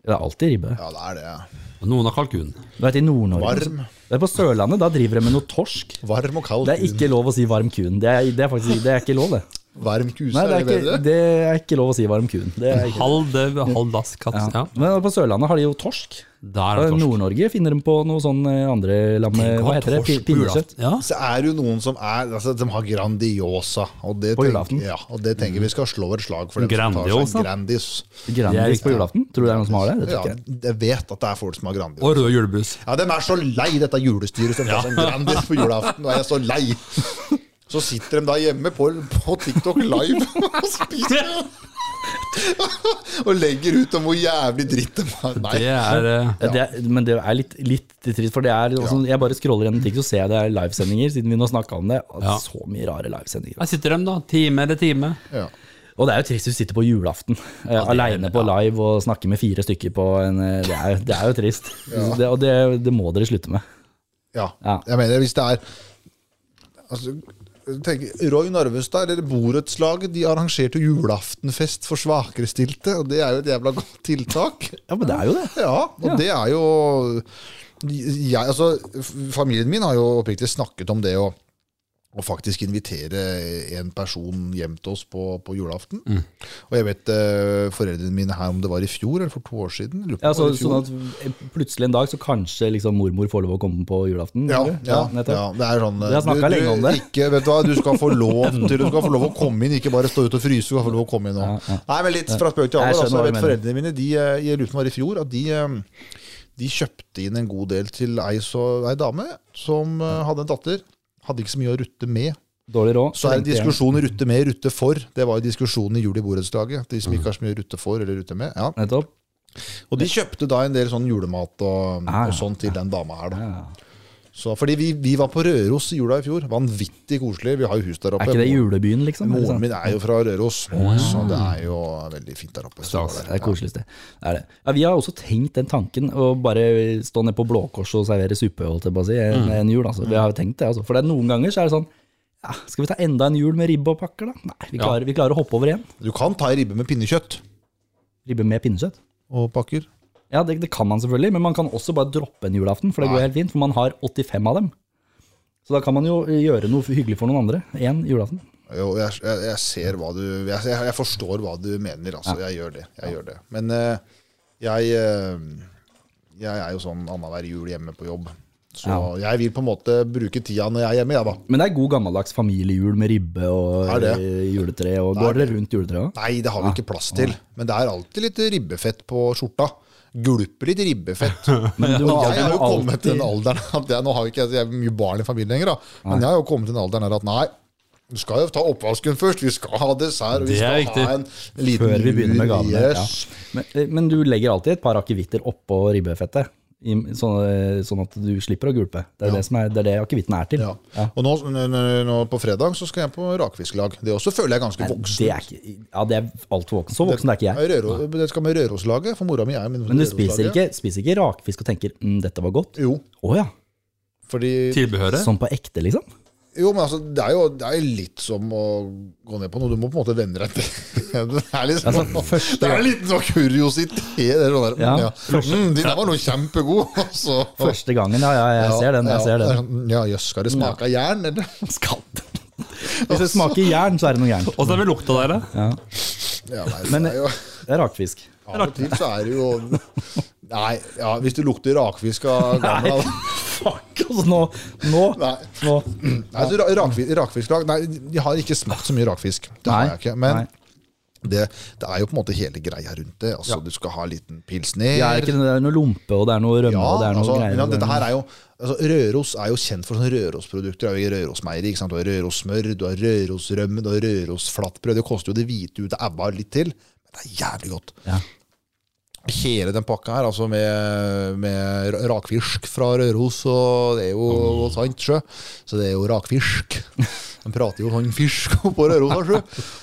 Speaker 2: Det er alltid ribbe.
Speaker 3: Ja, det er det.
Speaker 1: Noen har kalkun.
Speaker 2: Du vet, i Nord-Norge
Speaker 3: Varm.
Speaker 2: Det er På Sørlandet da driver de med noe torsk.
Speaker 3: Varm og kald
Speaker 2: Det er
Speaker 3: kun.
Speaker 2: ikke lov å si varm kun. Det er, det er faktisk det er ikke lov, det.
Speaker 3: Varm kuse,
Speaker 2: Nei, det
Speaker 3: er
Speaker 2: er ikke,
Speaker 3: bedre?
Speaker 2: det er ikke lov å si varm kun. Det er ikke.
Speaker 1: Halv dau, halv dass katt. Ja.
Speaker 2: Men på Sørlandet har de jo torsk.
Speaker 1: Der er
Speaker 2: Og
Speaker 1: det
Speaker 2: i
Speaker 1: torsk.
Speaker 2: Nord-Norge finner de på noe sånn eh, andre lam
Speaker 1: Tenk å
Speaker 2: Hva
Speaker 1: ha
Speaker 2: heter det? Pi-
Speaker 1: torsk på
Speaker 2: Pinnekjøtt?
Speaker 1: julaften. Ja.
Speaker 3: Så er det jo noen som er altså, De har Grandiosa. Og det
Speaker 2: På
Speaker 3: tenker,
Speaker 2: julaften?
Speaker 3: ja, og det tenker vi skal slå et slag for. dem
Speaker 1: Grandiosa?
Speaker 3: Som tar seg Grandis.
Speaker 2: Grandis på julaften? Tror du det er noen som har det? Det
Speaker 3: Ja,
Speaker 2: tror ikke jeg.
Speaker 3: jeg vet at det er folk som har Grandis.
Speaker 1: Og rød julebrus.
Speaker 3: Ja, De er så lei dette julestyret som tar seg en Grandis på julaften. Og jeg er så lei. Så sitter de da hjemme på, på TikTok live og spiser. og legger ut om hvor jævlig dritt de er. Nei.
Speaker 1: Det er eh,
Speaker 2: Ja. Det er, men det er litt, litt trist, for det er altså, Jeg bare scroller gjennom ting, så ser jeg det er livesendinger, siden vi nå snakka om det. Og
Speaker 1: Ja.
Speaker 2: Så mye rare livesendinger.
Speaker 1: Her sitter de, da. Time etter time.
Speaker 3: Ja.
Speaker 2: Og det er jo trist hvis du sitter på julaften eh, aleine på live og snakker med fire stykker på en eh, Det er, det er jo trist. Det, og det, det må dere slutte med.
Speaker 3: Ja.
Speaker 2: Ja.
Speaker 3: Jeg mener, hvis det er altså, tenk, Roy Narvestad eller Borettslaget de arrangerte julaftenfest for svakerestilte, og det er jo et jævla godt tiltak.
Speaker 2: Ja, men det er jo det.
Speaker 3: Ja, og
Speaker 2: Ja.
Speaker 3: det er jo jeg, altså, f- Familien min har jo oppriktig snakket om det å, å faktisk invitere en person hjem til oss på, på julaften.
Speaker 2: Mm.
Speaker 3: Og jeg vet eh, foreldrene mine her om det var i fjor eller for to år siden. lurer på
Speaker 2: Ja,
Speaker 3: om det
Speaker 2: så,
Speaker 3: var i fjor.
Speaker 2: sånn at plutselig en dag så kanskje liksom mormor får lov å komme på julaften?
Speaker 3: Ja,
Speaker 2: eller?
Speaker 3: ja,
Speaker 2: nettopp.
Speaker 3: ja, det er sånn
Speaker 2: Vi har snakket
Speaker 3: du-
Speaker 2: lenge om det.
Speaker 3: du- Ikke, vet du, hva, du, skal få lov til, du skal få lov å komme inn, ikke bare stå ute og fryse. Du skal få lov å komme inn nå. Nei, men litt fra spøk til
Speaker 2: Jeg skjønner
Speaker 3: alvor. Altså, jeg
Speaker 2: hva
Speaker 3: vet
Speaker 2: du mener.
Speaker 3: Foreldrene mine de, eh, jeg lurer på om det var i fjor, at de, eh, de kjøpte inn en god del til ei, så, ei dame som eh, hadde en datter. Hadde ikke så mye å rutte med.
Speaker 2: Dårlig råd.
Speaker 3: Så er det
Speaker 2: Tenkte jeg.
Speaker 3: diskusjon i rutte med, rutte for. Det var jo diskusjonen i jul i borettslaget. De som ikke har så mye å rutte for eller rutte med. Ja.
Speaker 2: Nettopp.
Speaker 3: Og de kjøpte da en del sånn julemat og,
Speaker 2: Ah,
Speaker 3: og sånn til den dama her, da.
Speaker 2: Ja.
Speaker 3: Så, fordi vi, vi var på Røros i jula i fjor. Vanvittig koselig. Vi har jo hus der oppe.
Speaker 2: Er ikke det julebyen, liksom? eller
Speaker 3: Moren
Speaker 2: sånn?
Speaker 3: min er jo fra Røros, så det er jo veldig fint der oppe. Så
Speaker 1: Stas.
Speaker 2: Det er et koselig sted. Det er det. Ja, vi har også tenkt den tanken, å bare stå ned på Blåkors og servere suppe holdt jeg på å si, en,
Speaker 3: Mm.
Speaker 2: en jul. Altså. Vi har jo tenkt det, altså. For det er noen ganger så er det sånn ja, Skal vi ta enda en jul med ribbe og pakker, da? Nei, vi
Speaker 1: Ja.
Speaker 2: klarer, vi klarer å hoppe over én.
Speaker 3: Du kan ta ei ribbe med pinnekjøtt
Speaker 2: Ribbe med pinnekjøtt.
Speaker 3: og pakker.
Speaker 2: Ja, det, det kan man selvfølgelig, men man kan også bare droppe en julaften, for det går helt fint, for man har 85 av dem. Så da kan man jo eh, gjøre noe hyggelig for noen andre. Én julaften.
Speaker 3: Jo, jeg, jeg, jeg ser hva du jeg, jeg, jeg forstår hva du mener, altså. Jeg gjør det. Jeg gjør det. Men eh, jeg, eh, jeg er jo sånn annenhver jul hjemme på jobb. Så jeg vil på en måte bruke tida når jeg er hjemme, jeg, da.
Speaker 2: Men det er god gammeldags familiejul med ribbe og
Speaker 3: Er det?
Speaker 2: eh, juletre. Og går dere rundt juletreet òg?
Speaker 3: Nei, det har vi ikke plass til. Men det er alltid litt ribbefett på skjorta. Gulper litt ribbefett.
Speaker 2: Men du må
Speaker 3: Og jeg
Speaker 2: alltid-
Speaker 3: har jo kommet til
Speaker 2: alltid-
Speaker 3: den alderen at jeg, Nå har jo ikke altså, jeg- jeg er mye barn i familien lenger, da. Men jeg har jo kommet til den alderen her at nei, du skal jo ta oppvasken først. Vi skal ha dessert, og vi
Speaker 1: Det er
Speaker 3: skal
Speaker 1: viktig.
Speaker 3: ha en liten
Speaker 2: Før vi begynner med
Speaker 3: lur,
Speaker 2: gavene.
Speaker 3: yes.
Speaker 2: eh, Ja. Men, men du legger alltid et par akevitter oppå ribbefettet. i, sånn, sånn at du slipper å gulpe. Det er,
Speaker 3: Ja.
Speaker 2: det, som er, det er det akevitten er til.
Speaker 3: Ja.
Speaker 2: Ja.
Speaker 3: Og nå, n- n- nå på fredag så skal jeg på rakfisklag. Det også føler jeg er ganske
Speaker 2: Nei,
Speaker 3: voksen.
Speaker 2: det er ikke, ja, det er altfor voksen. Så voksen er ikke jeg.
Speaker 3: Jeg er Røro, det skal med Røroslaget, for mora mi er
Speaker 2: Men
Speaker 3: med
Speaker 2: du
Speaker 3: Røroslaget.
Speaker 2: spiser ikke, spiser ikke rakfisk og tenker mm, 'dette var godt'?
Speaker 3: Jo,
Speaker 2: Å ja.
Speaker 3: fordi
Speaker 1: Tilbehøret?
Speaker 2: Sånn på ekte, liksom?
Speaker 3: Jo, men altså, det er jo, det er jo litt som å gå ned på noe. Du må på en måte vende deg til det. Er liksom,
Speaker 2: Altså, første-
Speaker 3: det er en liten sånn kuriositet. Det er sånn der,
Speaker 2: Ja,
Speaker 3: mm, ja. Mm, de der var noe kjempegod. og Så,
Speaker 2: Første gangen, ja, ja, jeg ser den. jeg
Speaker 3: ja,
Speaker 2: ser
Speaker 3: det er
Speaker 2: den.
Speaker 3: sånn, Ja, jøss, skal det smake av jern, eller?
Speaker 2: Skal. Hvis det smaker jern, så er det noe gærent.
Speaker 1: Og så er det lukta der, da.
Speaker 2: Ja.
Speaker 3: Ja, nei,
Speaker 2: Men-
Speaker 3: det er jo,
Speaker 2: Det er rakfisk.
Speaker 3: av og til så er det jo Nei, ja, hvis det lukter rakfisk av gamla
Speaker 2: Nei. Fuck, altså nå, nå,
Speaker 3: Nei.
Speaker 2: nå.
Speaker 3: Nei, så ra- rakfi- rakfisklag Nei, de har ikke smakt så mye rakfisk. Det har
Speaker 2: Nei,
Speaker 3: jeg ikke. Men
Speaker 2: nei.
Speaker 3: det, det er jo på en måte hele greia rundt det. Altså, Du skal ha en liten pilsner.
Speaker 2: Det er, ikke, det er noe lompe, og det er noe rømme,
Speaker 3: ja,
Speaker 2: og det er noe
Speaker 3: altså,
Speaker 2: greier. og
Speaker 3: men
Speaker 2: det er
Speaker 3: dette
Speaker 2: noe-
Speaker 3: her er jo, altså, Røros er jo kjent for sånne Rørossprodukter. Det er jo Rørosmeieri. ikke sant? Du har Rørossmør, du har Rørosrømme, du har Rørosflatbrød. Det koster jo det hvite ut av æva litt til. Men det er jævlig godt.
Speaker 2: Ja.
Speaker 3: Hele den pakka her, altså med, med ra- rakfisk fra Røros og det er jo
Speaker 2: Mm.
Speaker 3: og sant sjø. Så det er jo rakfisk. De prater jo sånn fisk på Røros da, sjø.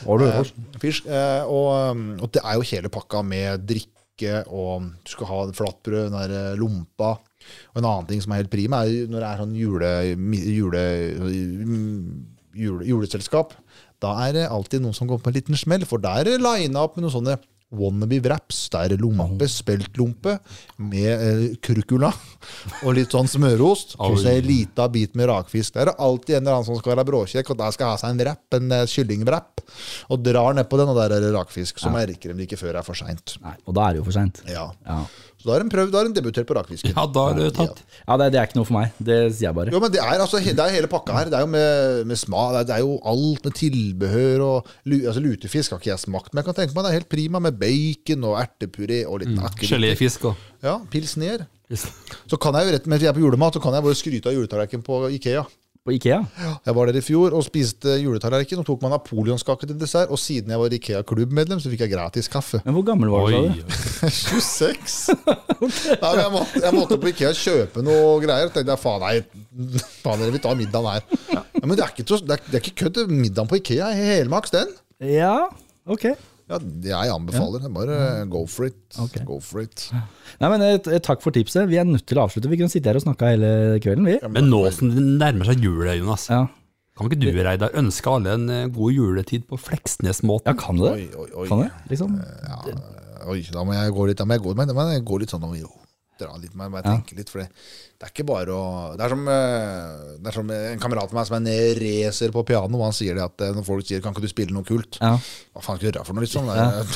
Speaker 2: Har du hørt?
Speaker 3: Eh, Fisk. eh, Og, um, og det er jo hele pakka med drikke og du skal ha flatbrød, den der eh, lompa. Og en annen ting som er helt prima, er jo når det er sånn jule, mi- jule, mm, jule, juleselskap. Da er det alltid noen som går på en liten smell, for der er det lina opp med noen sånne wannabe wraps. Der er lompe, speltlompe, med eh, kurkula og litt sånn smørost. Og så en lita bit med rakfisk. Der er det alltid en eller annen som skal være bråkjekk, og der skal ha seg en wrap, en eh, kyllingwrap, og drar nedpå den, og der er det rakfisk. Så merker de det ikke før det er for seint.
Speaker 2: Nei, og da er det jo for seint.
Speaker 3: Ja.
Speaker 2: Ja.
Speaker 3: Så da har de prøvd, da har de debutert på rakfisken.
Speaker 1: Ja, da har du tatt.
Speaker 2: ja, det, det er ikke noe for meg. Det sier jeg bare.
Speaker 3: Jo, men det er, altså, he- det er hele pakka her. Det er jo med, med sma, det er- det er jo alt med tilbehør og lu, altså, Lutefisk har ikke jeg smakt, men jeg kan tenke meg det er helt prima med bacon og ertepuré og litt akevitt.
Speaker 1: Geléfisk og
Speaker 3: Ja, pilsner. Så kan jeg jo rett med, jeg er på julemat, så kan jeg bare skryte av juletallerkenen på Ikea.
Speaker 2: På Ikea?
Speaker 3: Jeg var der i fjor og spiste juletallerken, og tok meg napoleonskake til dessert. Og siden jeg var Ikea-klubbmedlem, så fikk jeg gratis kaffe.
Speaker 2: Men hvor gammel var du,
Speaker 1: Oi.
Speaker 2: sa du?
Speaker 3: 26! Nei, men jeg, måtte, jeg måtte på Ikea kjøpe noe greier. Og tenkte jeg, faen, nei, faen dere vil ta middagen her. Ja. men det er ikke, til å- det er, det er ikke kødd. Middagen på Ikea er helmaks, den.
Speaker 2: Ja, ok.
Speaker 3: Ja, det jeg anbefaler. Bare go for it.
Speaker 2: Ok.
Speaker 3: Go for it.
Speaker 2: Nei, men eh, t- Takk for tipset. Vi er nødt til å avslutte. Vi kunne sitte her og snakka hele kvelden, vi.
Speaker 1: Men nå som det nærmer seg jul, Jonas,
Speaker 2: Ja,
Speaker 1: kan ikke du, Reidar, ønske alle en eh, god juletid på
Speaker 2: ja
Speaker 1: Fleksnes-måten?
Speaker 2: kan du det?
Speaker 3: Oi, oi, oi.
Speaker 2: Kan det? Liksom?
Speaker 3: Oi, da må jeg gå litt, da må jeg gå, men, men jeg går litt sånn og jo, dra litt med meg, tenke litt, for det, det er ikke bare å det er, som, eh, det er som en kamerat av meg som er en racer på piano, og han sier det at eh, når folk sier, kan ikke du spille noe kult?
Speaker 2: Ja.
Speaker 3: Hva faen skal du gjøre for noe, liksom? Det er-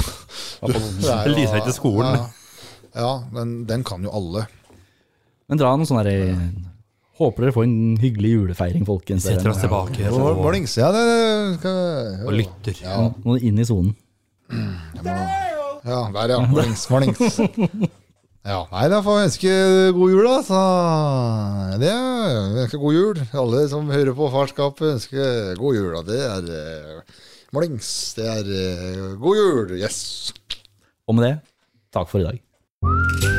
Speaker 3: Du- det er jo-
Speaker 1: Lyser ikke skolen.
Speaker 3: Ja, ja den, den kan jo alle.
Speaker 2: Men dra noen sånne der, eh, Håper dere får en hyggelig julefeiring, folkens. der
Speaker 1: Setter oss
Speaker 2: hjemme.
Speaker 1: tilbake
Speaker 3: Hva
Speaker 1: og,
Speaker 3: var det lenge siden? Det skal-
Speaker 1: og lytter.
Speaker 2: Ja, Nå inn i sonen.
Speaker 3: Ja, der ja. Mornings, mornings. Ja, nei, da får jeg ønske god jul, da. Så det jeg ønsker god jul. Alle som hører på Farskapet, ønsker god jul. Da. Det er eh, mornings. Det er eh, god jul. Yes.
Speaker 2: Og med det, takk for i dag.